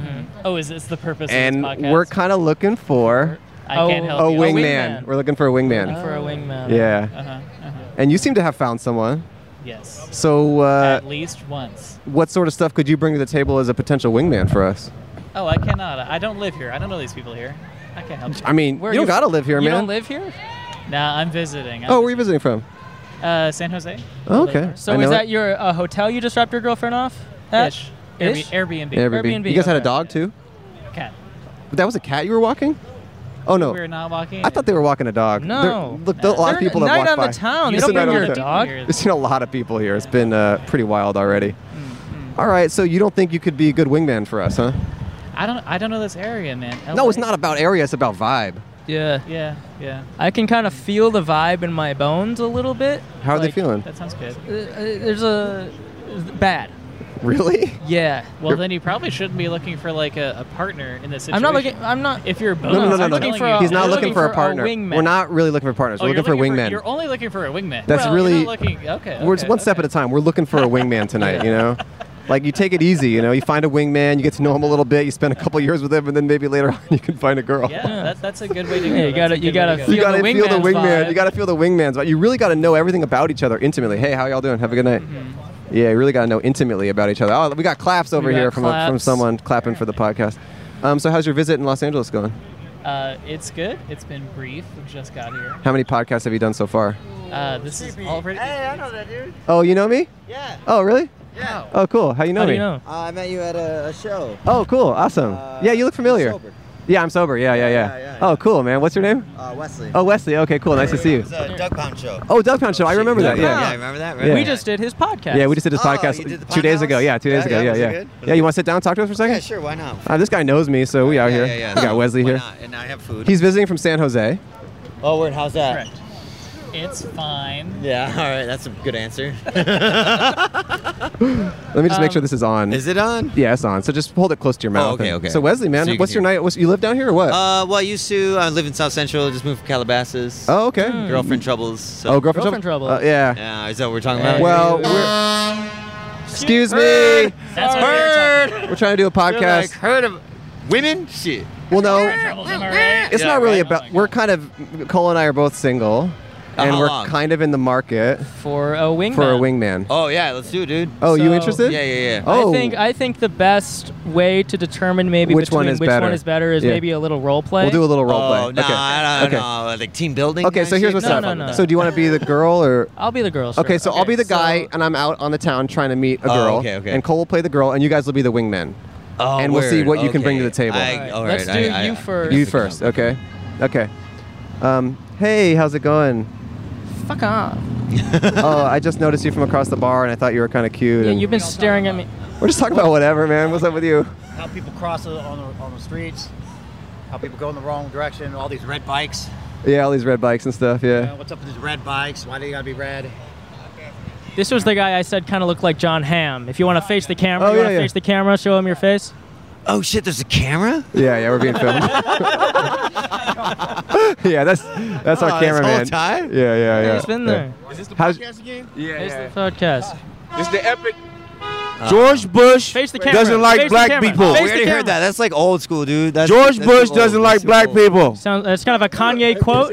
Speaker 12: Oh, is this the purpose
Speaker 2: and
Speaker 12: of this podcast?
Speaker 2: we're kind of looking for
Speaker 12: I can't
Speaker 2: a,
Speaker 12: help you. A
Speaker 2: wingman.
Speaker 12: wingman.
Speaker 2: We're looking for a wingman.
Speaker 12: Looking for a wingman.
Speaker 2: Yeah.
Speaker 12: Uh-huh, uh-huh.
Speaker 2: And you seem to have found someone.
Speaker 12: Yes.
Speaker 2: So uh,
Speaker 12: At least once.
Speaker 2: What sort of stuff could you bring to the table as a potential wingman for us?
Speaker 12: Oh, I cannot. I don't live here. I don't know these people here. I can't help.
Speaker 2: I mean, Where you don't you- gotta live here, you man. don't
Speaker 1: live here?
Speaker 12: Nah, I'm visiting. I'm
Speaker 2: Oh, where are you visiting from?
Speaker 12: visiting. uh, San Jose.
Speaker 2: Oh, okay.
Speaker 1: So
Speaker 2: I
Speaker 1: is
Speaker 2: know
Speaker 1: that
Speaker 2: it.
Speaker 1: your uh, hotel you just dropped your girlfriend off at?
Speaker 12: Ish. Airb- Airbnb.
Speaker 2: Airbnb. You guys had a dog too?
Speaker 12: Cat.
Speaker 2: That was a cat you were walking? Oh no.
Speaker 12: We were not walking.
Speaker 2: I thought they were walking a dog.
Speaker 12: No.
Speaker 2: There- look, there are a lot of
Speaker 12: They're
Speaker 2: people
Speaker 12: night
Speaker 2: have
Speaker 12: on
Speaker 2: walked
Speaker 12: the
Speaker 2: by.
Speaker 12: town. They
Speaker 2: It's
Speaker 12: don't
Speaker 2: a night
Speaker 12: bring
Speaker 2: on
Speaker 12: your
Speaker 2: the
Speaker 12: dog.
Speaker 2: [laughs] I've seen a lot of people here. It's been uh, pretty wild already.
Speaker 12: Mm-hmm.
Speaker 2: All right, so you don't think you could be a good wingman for us, huh?
Speaker 12: I don't. I don't know this area, man.
Speaker 2: No,
Speaker 12: LA.
Speaker 2: it's not about area. It's about vibe.
Speaker 1: Yeah.
Speaker 12: Yeah. Yeah.
Speaker 1: I can kind of feel the vibe in my bones a little bit.
Speaker 2: How are they feeling?
Speaker 12: That sounds good.
Speaker 1: There's a bad.
Speaker 2: Really?
Speaker 1: Yeah.
Speaker 12: Well, then you probably shouldn't be looking for like a, a partner in this situation.
Speaker 1: I'm not looking- I'm not.
Speaker 12: If you're
Speaker 2: No, no, no,
Speaker 12: bones,
Speaker 2: no,
Speaker 12: Oh, I'm
Speaker 2: no.
Speaker 12: telling you,
Speaker 2: He's not
Speaker 12: you're
Speaker 2: looking for a partner.
Speaker 12: wingman.
Speaker 2: We're not really looking for partners.
Speaker 12: Oh,
Speaker 2: We're
Speaker 12: you're
Speaker 2: looking for
Speaker 12: looking
Speaker 2: wingmen.
Speaker 12: You're only looking for a wingman.
Speaker 2: That's
Speaker 12: Well,
Speaker 2: really
Speaker 12: You're not looking. Okay.
Speaker 2: We're
Speaker 12: okay.
Speaker 2: just one step at a time. We're looking for a
Speaker 12: [laughs]
Speaker 2: wingman tonight, you know? Like you take it easy, you know, you find a wingman, you get to know him a little bit, you spend a couple years with him, and then maybe later [laughs] on you can find a girl.
Speaker 12: Yeah,
Speaker 2: [laughs]
Speaker 12: That, that's a good way to go.
Speaker 1: Yeah, you gotta-
Speaker 12: That's a
Speaker 1: you
Speaker 12: good way
Speaker 1: gotta
Speaker 12: to go.
Speaker 1: feel
Speaker 2: You gotta
Speaker 1: the
Speaker 2: feel the
Speaker 1: wingman's
Speaker 2: wingman.
Speaker 1: vibe.
Speaker 2: You gotta feel the wingman's vibe. You really gotta know everything about each other intimately. Hey, how y'all doing? Have a good night. Yeah, you really gotta know intimately about each other. Oh, we got claps over
Speaker 12: We got
Speaker 2: here from from
Speaker 12: claps.
Speaker 2: someone clapping for the podcast. Um, so how's your visit in Los Angeles going?
Speaker 12: Uh, it's good. It's been brief. We just got here.
Speaker 2: How many podcasts have you done so far?
Speaker 12: Uh, this is already. Hey, I know that dude.
Speaker 2: Oh, you know me?
Speaker 13: Yeah.
Speaker 2: Oh, really?
Speaker 13: Yeah.
Speaker 2: Oh, cool. How you know me?
Speaker 13: Uh, I met you at a, a show.
Speaker 2: Oh, cool. Awesome. yeah, you look familiar.
Speaker 13: Uh, sober.
Speaker 2: Yeah, I'm sober. Yeah, yeah, yeah. Oh, cool, man. What's your name?
Speaker 13: Uh, Wesley.
Speaker 2: Oh, Wesley. Okay, cool. Nice to see you.
Speaker 13: It was a Doug Pound show.
Speaker 2: Oh, Doug Pound Show. I remember that. Yeah.
Speaker 13: Yeah, I remember that. Right?
Speaker 2: Yeah.
Speaker 1: We just did his podcast.
Speaker 2: Yeah, we just did this
Speaker 13: Oh,
Speaker 2: podcast,
Speaker 13: you did the
Speaker 2: two days ago. Yeah, two days
Speaker 13: Yeah, yeah,
Speaker 2: ago. Yeah,
Speaker 13: was it
Speaker 2: yeah.
Speaker 13: good?
Speaker 2: Yeah, you want to sit down and talk to us for a second?
Speaker 13: Yeah, sure. Why not?
Speaker 2: Uh, this guy knows me, so we out
Speaker 13: Yeah,
Speaker 2: here.
Speaker 13: yeah, yeah.
Speaker 2: We got Wesley
Speaker 13: Why
Speaker 2: here.
Speaker 13: not? And I have food.
Speaker 2: He's visiting from San Jose.
Speaker 13: Oh, word. How's that?
Speaker 12: Correct. It's fine.
Speaker 13: Yeah. [laughs] All right. That's a good
Speaker 2: [laughs]
Speaker 13: answer.
Speaker 2: Let me just
Speaker 13: Um,
Speaker 2: make sure this is on. Is
Speaker 13: it on? Oh,
Speaker 2: Yeah, it's on. So just hold it close to your mouth.
Speaker 13: okay,
Speaker 2: and-
Speaker 13: okay.
Speaker 2: So Wesley, man,
Speaker 13: So you can
Speaker 2: what's your night? What's, you live down here or what?
Speaker 13: Uh, well, I used to. I live in South Central. Just moved from Calabasas.
Speaker 2: Oh, okay. Hmm.
Speaker 13: Girlfriend troubles. So.
Speaker 2: Oh, girlfriend Girlfriend trouble? trouble. Uh, yeah.
Speaker 13: Yeah. Is that what we're talking about?
Speaker 2: well, we're, excuse me.
Speaker 13: That's what we were talking
Speaker 2: We're trying to do a podcast.
Speaker 13: heard of women? Shit.
Speaker 2: Well, no, it's
Speaker 13: Yeah,
Speaker 2: not really
Speaker 13: right? Oh
Speaker 2: about. we're kind of Cole and I are both single, and
Speaker 13: Uh, how
Speaker 2: we're
Speaker 13: long?
Speaker 2: kind of in the market
Speaker 1: for a wingman.
Speaker 2: For a wingman.
Speaker 13: Oh yeah, let's do it, dude.
Speaker 2: [gasps] Oh, you
Speaker 1: So-
Speaker 2: interested?
Speaker 1: I
Speaker 2: Oh,
Speaker 1: think I think the best way to determine maybe
Speaker 2: Which one
Speaker 1: between
Speaker 2: is
Speaker 1: which
Speaker 2: better?
Speaker 1: one is better is
Speaker 2: Yeah.
Speaker 1: maybe a little role play.
Speaker 2: We'll do a little role play.
Speaker 13: Oh, no,
Speaker 2: Okay.
Speaker 13: I don't
Speaker 2: Okay.
Speaker 13: know. uh, Like team building?
Speaker 2: okay, so here's what's
Speaker 1: No,
Speaker 2: up.
Speaker 1: no, no.
Speaker 2: So do you want to be the girl or?
Speaker 1: [laughs] I'll be the girl.
Speaker 2: Okay,
Speaker 1: sure.
Speaker 2: so I'll be the guy, and I'm out on the town trying to meet a
Speaker 13: Oh,
Speaker 2: girl.
Speaker 13: okay, okay.
Speaker 2: And Cole will play the girl, and you guys will be the wingmen.
Speaker 13: Oh,
Speaker 2: and we'll see
Speaker 13: word.
Speaker 2: what you can bring to
Speaker 13: Okay.
Speaker 2: the table.
Speaker 13: I- Alright, alright, let's do I- I- you first.
Speaker 2: You first. Okay. Okay. Um, hey, how's it
Speaker 13: [laughs]
Speaker 2: going?
Speaker 1: Fuck off.
Speaker 2: oh, I just noticed you from across the bar, and I thought you were kind of cute.
Speaker 1: Yeah,
Speaker 2: and
Speaker 1: you've been staring at me.
Speaker 2: We're just talking about whatever, man. What's up with you?
Speaker 14: how people cross on the, on the streets, how people go in the wrong direction, all these red bikes.
Speaker 2: Yeah, all these red bikes and stuff.
Speaker 14: Uh,
Speaker 2: Yeah.
Speaker 14: what's up with these red bikes? Why do they gotta be red?
Speaker 1: This was the guy I said kind of looked like John Hamm. If you want to face the camera,
Speaker 2: Oh,
Speaker 1: you
Speaker 2: yeah,
Speaker 1: want to
Speaker 2: yeah.
Speaker 1: face the camera, show him your face.
Speaker 13: Oh shit, there's a camera?
Speaker 2: Yeah, yeah, we're being filmed. [laughs] yeah, that's that's
Speaker 13: Oh,
Speaker 2: our
Speaker 13: this
Speaker 2: cameraman.
Speaker 13: whole time?
Speaker 2: Yeah, yeah, yeah.
Speaker 1: He's been
Speaker 2: yeah.
Speaker 1: there.
Speaker 11: Is this the
Speaker 2: How's-
Speaker 11: podcast again?
Speaker 1: Face the podcast.
Speaker 11: It's the epic.
Speaker 15: Uh,
Speaker 3: George Bush
Speaker 1: Face the
Speaker 11: camera.
Speaker 3: doesn't like
Speaker 1: Face the
Speaker 3: black
Speaker 1: camera.
Speaker 3: people.
Speaker 1: Face the We already heard camera. that.
Speaker 13: That's like old school, dude. That's,
Speaker 3: George
Speaker 13: that's
Speaker 3: Bush
Speaker 13: old.
Speaker 3: doesn't
Speaker 13: That's
Speaker 3: like black
Speaker 13: old.
Speaker 3: people.
Speaker 1: Sounds, it's kind of a Kanye quote.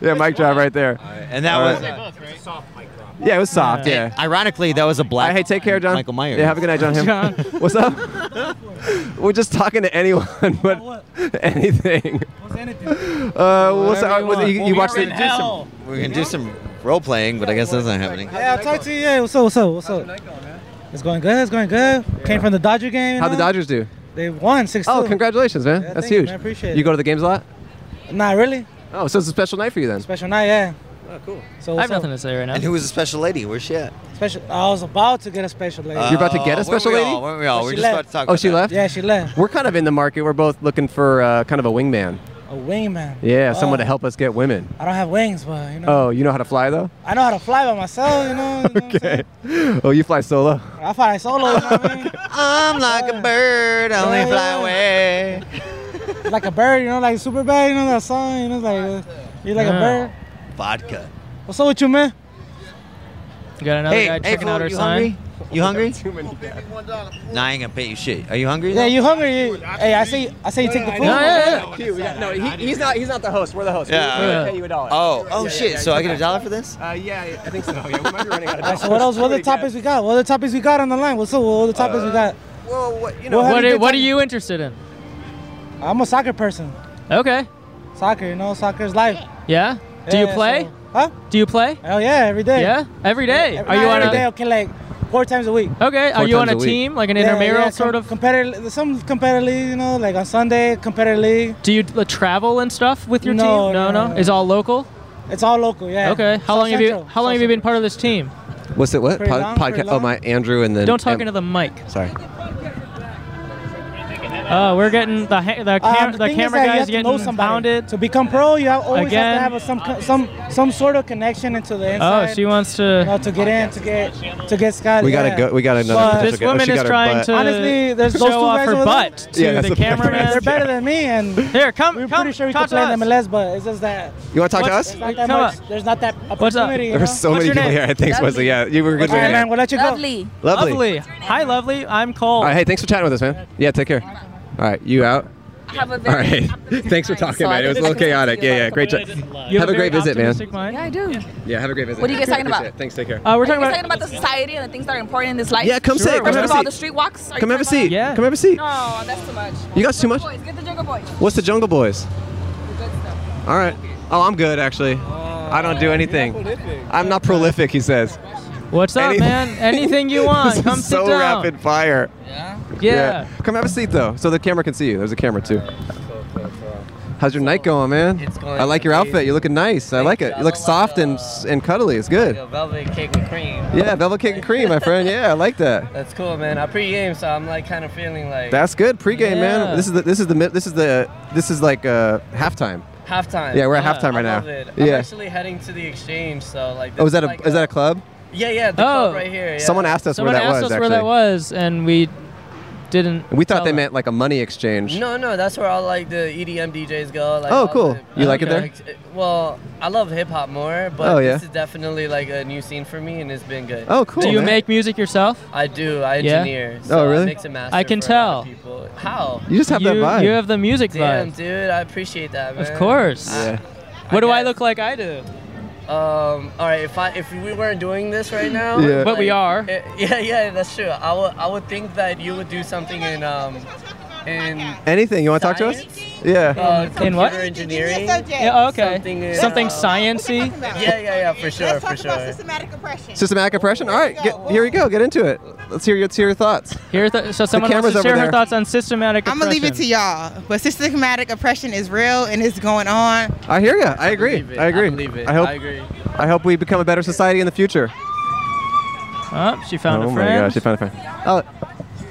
Speaker 2: Yeah, mic drop right there.
Speaker 13: And that
Speaker 2: All
Speaker 13: was.
Speaker 2: right. Yeah, it was soft. Yeah.
Speaker 13: Ironically, that was a black.
Speaker 2: hey, take care, John.
Speaker 13: Michael Myers.
Speaker 2: Yeah, have a good night, [laughs] John. Hamm.
Speaker 13: John.
Speaker 15: [laughs]
Speaker 2: What's up? We're just talking to anyone,
Speaker 13: [laughs]
Speaker 2: but anything. What's anything? Uh, what's up? What- you, you watched it?
Speaker 13: We're gonna do some role playing, but I guess that's not happening.
Speaker 15: Yeah, I'll talk to you. Yeah, what's up? What's up? What's up? It's going good. It's going good. Came from the Dodger game. you
Speaker 2: How'd the
Speaker 15: know?
Speaker 2: Dodgers do?
Speaker 15: They won six.
Speaker 2: Oh, congratulations, man!
Speaker 15: Yeah,
Speaker 2: That's
Speaker 15: thank you,
Speaker 2: huge.
Speaker 15: man. Appreciate
Speaker 2: You
Speaker 15: it.
Speaker 2: go to the games a lot?
Speaker 15: Not really.
Speaker 2: Oh, so it's a special night for you then.
Speaker 15: Special night, yeah.
Speaker 13: Oh, cool.
Speaker 15: So
Speaker 1: I have
Speaker 15: what's up?
Speaker 1: nothing to say right now.
Speaker 13: And who was the special lady? Where's she at?
Speaker 15: Special. I was about to get a special lady.
Speaker 2: You're about to
Speaker 13: Uh,
Speaker 2: get a special lady?
Speaker 15: But she left.
Speaker 2: Oh, she left.
Speaker 15: Yeah, she left.
Speaker 2: We're kind of in the market. We're both looking for uh, kind of a wingman.
Speaker 15: A wingman.
Speaker 2: Yeah, someone
Speaker 15: Oh.
Speaker 2: to help us get women.
Speaker 15: I don't have wings, but you know,
Speaker 2: Oh, you know how to fly
Speaker 15: [laughs]
Speaker 2: though?
Speaker 15: I know how to fly by myself. You know,
Speaker 2: Okay. Oh, you fly solo?
Speaker 15: I fly solo. You know what I mean?
Speaker 13: [laughs] I'm like a bird, I only fly away.
Speaker 15: like a bird, you know, like super bad. You know that song? You know, like uh, you're like a bird.
Speaker 13: Vodka.
Speaker 15: What's up with you, man?
Speaker 1: You got another
Speaker 13: Hey,
Speaker 1: guy
Speaker 13: hey,
Speaker 1: checking
Speaker 13: fool,
Speaker 1: out her
Speaker 13: you
Speaker 1: sign.
Speaker 13: hungry? You hungry? Too
Speaker 15: Oh,
Speaker 13: many Nah, I ain't gonna pay you shit. Are you hungry?
Speaker 15: Yeah, you hungry? You- hey, I say, I say you take the food.
Speaker 2: No, he, he's not. He's not the host. We're the host.
Speaker 13: Yeah.
Speaker 2: We're gonna
Speaker 13: Yeah.
Speaker 2: pay you a dollar.
Speaker 13: Oh, oh
Speaker 2: Yeah,
Speaker 13: shit.
Speaker 2: yeah,
Speaker 13: so I get a
Speaker 2: yeah.
Speaker 13: dollar for this?
Speaker 2: Uh, yeah, yeah, I think so. Yeah, we might be running
Speaker 13: Uh,
Speaker 2: out
Speaker 15: Alright,
Speaker 2: of dollars.
Speaker 15: so what else? What other topics we got? What other topics we got on the line? What's up? What other topics
Speaker 13: Uh,
Speaker 15: we got?
Speaker 2: Well, what,
Speaker 15: know-
Speaker 1: what,
Speaker 15: What have
Speaker 1: are,
Speaker 15: you
Speaker 1: what are
Speaker 15: been-
Speaker 1: you interested in?
Speaker 15: I'm a soccer person.
Speaker 1: Okay.
Speaker 15: Soccer, you know, soccer is life.
Speaker 1: Yeah. Do
Speaker 15: Yeah,
Speaker 1: you
Speaker 15: so-
Speaker 1: play?
Speaker 15: huh?
Speaker 1: Do you play?
Speaker 15: Oh yeah, every day.
Speaker 1: Yeah. Every day.
Speaker 15: Every-
Speaker 1: are you
Speaker 15: not
Speaker 1: on
Speaker 15: every
Speaker 1: a?
Speaker 15: day, Okay, like four times a week.
Speaker 1: Okay.
Speaker 15: Four
Speaker 1: Are you on
Speaker 15: times
Speaker 1: a
Speaker 15: a week.
Speaker 1: team, like an
Speaker 15: Yeah,
Speaker 1: intramural
Speaker 15: yeah,
Speaker 1: sort
Speaker 15: com-
Speaker 1: of?
Speaker 15: competitive, some competitive league, you know, like on Sunday, competitive league.
Speaker 1: Do you uh, travel and stuff with your
Speaker 15: No,
Speaker 1: team?
Speaker 15: no,
Speaker 1: no,
Speaker 15: no.
Speaker 1: It's all local.
Speaker 15: It's all local, yeah.
Speaker 1: Okay. How
Speaker 15: South
Speaker 1: long have you?
Speaker 15: Central,
Speaker 1: How long
Speaker 15: South
Speaker 1: have you been part of this team?
Speaker 2: What's it? What
Speaker 1: Pretty long, pretty
Speaker 2: podcast? Oh,
Speaker 1: long.
Speaker 2: my Andrew and then.
Speaker 1: Don't talk
Speaker 2: Em-
Speaker 1: into the mic.
Speaker 2: Sorry.
Speaker 1: Oh, we're getting the ha- the,
Speaker 15: Uh,
Speaker 1: cam- the,
Speaker 15: thing is
Speaker 1: camera
Speaker 15: that you
Speaker 1: guys
Speaker 15: have to know
Speaker 1: getting
Speaker 15: somebody.
Speaker 1: pounded.
Speaker 15: To become pro, you have always
Speaker 1: Again.
Speaker 15: have to have a, some co- some some sort of connection into the
Speaker 1: Oh,
Speaker 15: inside.
Speaker 1: she wants
Speaker 15: you know,
Speaker 1: to.
Speaker 15: to get in, to get to get Scott.
Speaker 2: We gotta
Speaker 15: yeah.
Speaker 2: go- we got another
Speaker 15: But-
Speaker 2: special This guest. Oh, she woman is got her trying butt. to
Speaker 15: honestly. There's
Speaker 1: show
Speaker 15: those two
Speaker 1: off
Speaker 15: guys
Speaker 1: her
Speaker 15: over there.
Speaker 1: butt
Speaker 2: [laughs]
Speaker 1: to Yeah, that's the what- cameraman.
Speaker 15: They're better than me, and
Speaker 1: here, come.
Speaker 15: We're
Speaker 1: come,
Speaker 15: pretty sure we
Speaker 1: talk
Speaker 15: could
Speaker 1: to
Speaker 15: play in
Speaker 1: us.
Speaker 15: MLS, but it's just that.
Speaker 2: You want to talk to us?
Speaker 15: There's not that
Speaker 1: Come
Speaker 15: much.
Speaker 1: up.
Speaker 15: There's not that
Speaker 1: What's up?
Speaker 15: opportunity. you
Speaker 2: There were
Speaker 15: know?
Speaker 2: so many people here. Thanks, Wesley. Yeah, you were good.
Speaker 15: All right,
Speaker 2: man.
Speaker 15: man. We'll let you go.
Speaker 2: Lovely.
Speaker 1: Lovely. Hi, lovely. I'm Cole.
Speaker 2: All right. Hey, thanks for chatting with us, man. Yeah, take care. All right, you out.
Speaker 16: Have a
Speaker 2: All
Speaker 16: very
Speaker 2: right. Thanks for talking, man. It was a little chaotic. Yeah, yeah. Great job.
Speaker 1: You
Speaker 2: Have a great
Speaker 1: very
Speaker 2: visit, man.
Speaker 1: optimistic mind.
Speaker 16: Yeah, I do.
Speaker 2: Yeah, have a great visit.
Speaker 16: What are you guys talking
Speaker 2: Appreciate
Speaker 16: about?
Speaker 2: it. Thanks. Take care.
Speaker 1: Uh, we're
Speaker 16: Are
Speaker 1: talking
Speaker 16: you
Speaker 1: about.
Speaker 16: talking about the society and the things that are important in this life?
Speaker 2: Yeah, come Sure, sit, come
Speaker 16: First
Speaker 2: have
Speaker 16: of
Speaker 2: a
Speaker 16: all,
Speaker 2: seat.
Speaker 16: the street walks. Are you
Speaker 2: Come have a
Speaker 16: talking
Speaker 2: seat.
Speaker 16: about-
Speaker 2: Yeah. Come have a seat.
Speaker 16: No, that's too much.
Speaker 2: You got too
Speaker 16: Jungle
Speaker 2: much.
Speaker 16: Boys, Get the Jungle Boys.
Speaker 2: What's the Jungle Boys? All right. Oh, I'm good actually. I don't
Speaker 17: Uh,
Speaker 2: do anything. I'm not prolific. He says.
Speaker 1: What's up, man? Anything
Speaker 2: [laughs]
Speaker 1: you want.
Speaker 2: this
Speaker 1: Come
Speaker 2: is
Speaker 1: sit
Speaker 2: so
Speaker 1: down.
Speaker 2: rapid fire.
Speaker 1: Yeah.
Speaker 2: Come have a seat though, so the camera can see you. There's a camera too. How's your night going, man? It's
Speaker 17: going
Speaker 2: I like your
Speaker 17: amazing.
Speaker 2: outfit. You are looking nice. I like it. You look soft and s- and cuddly. It's good.
Speaker 17: Like a velvet cake with cream.
Speaker 2: Yeah, velvet cake and cream, my friend. Yeah, I like that.
Speaker 17: That's cool, man. I pre-game, so I'm like kind of feeling like
Speaker 2: That's good. Pregame,
Speaker 17: Yeah.
Speaker 2: man. This is the this is the mid- this is the this is like uh, halftime.
Speaker 17: halftime.
Speaker 2: Yeah, we're at halftime
Speaker 17: I
Speaker 2: right now.
Speaker 17: love it.
Speaker 2: Yeah.
Speaker 17: I'm actually heading to the exchange, so like.
Speaker 2: Oh, is
Speaker 17: this
Speaker 2: that a
Speaker 17: like
Speaker 2: is that a club?
Speaker 17: Yeah, yeah.
Speaker 12: Oh.
Speaker 17: The club right here. Yeah.
Speaker 2: Someone asked us
Speaker 1: Someone
Speaker 2: where that
Speaker 1: asked
Speaker 2: was.
Speaker 1: us
Speaker 2: actually,
Speaker 1: where that was, and we didn't.
Speaker 2: we thought
Speaker 1: tell
Speaker 2: they
Speaker 1: them.
Speaker 2: meant like a money exchange.
Speaker 17: No, no, that's where all like the E EDM DJs go. Like,
Speaker 2: Oh,
Speaker 17: all
Speaker 2: cool.
Speaker 17: the-
Speaker 2: You like it there?
Speaker 17: like, well, I love hip hop more, but
Speaker 2: Oh, yeah.
Speaker 17: this is definitely like a new scene for me, and it's been good.
Speaker 2: Oh,
Speaker 1: Do you make music yourself?
Speaker 17: I do. I
Speaker 1: Yeah?
Speaker 17: engineer.
Speaker 1: Oh,
Speaker 17: so I
Speaker 1: really?
Speaker 17: mix and master
Speaker 1: I can
Speaker 17: for a lot
Speaker 1: tell.
Speaker 17: of people. How?
Speaker 1: You just have that You- vibe. you have the music
Speaker 17: Damn,
Speaker 1: vibe.
Speaker 17: dude. I appreciate that, man.
Speaker 1: Of course. What do I
Speaker 17: guess.
Speaker 1: look like? I do.
Speaker 17: Um. All right. If I if we weren't doing this right now,
Speaker 1: Yeah. But we are.
Speaker 17: eh, yeah, yeah, that's true. I would I would think that you would do something in um in
Speaker 2: Anything you want to talk to us?
Speaker 17: uh,
Speaker 2: Yeah.
Speaker 17: computer engineering.
Speaker 1: Yeah, okay.
Speaker 17: Something, in,
Speaker 1: Something
Speaker 17: uh,
Speaker 1: sciency.
Speaker 17: Yeah, yeah, yeah, for sure, for sure.
Speaker 2: Systematic oppression. All right, get, here we go. Get into it. Let's hear your, let's hear your thoughts.
Speaker 1: Here, th- so someone wants
Speaker 2: camera's
Speaker 1: to
Speaker 2: over
Speaker 1: share
Speaker 2: there.
Speaker 1: her thoughts on systematic.
Speaker 18: I'm gonna leave it to y'all, but systematic oppression is real and it's going on.
Speaker 2: I hear you. I agree.
Speaker 18: believe it.
Speaker 2: I agree.
Speaker 18: I believe it.
Speaker 2: hope.
Speaker 18: I agree.
Speaker 2: I hope we become a better society in the future.
Speaker 1: Oh, she found
Speaker 2: oh
Speaker 1: a
Speaker 2: my
Speaker 1: friend.
Speaker 2: gosh, she found a friend. Oh,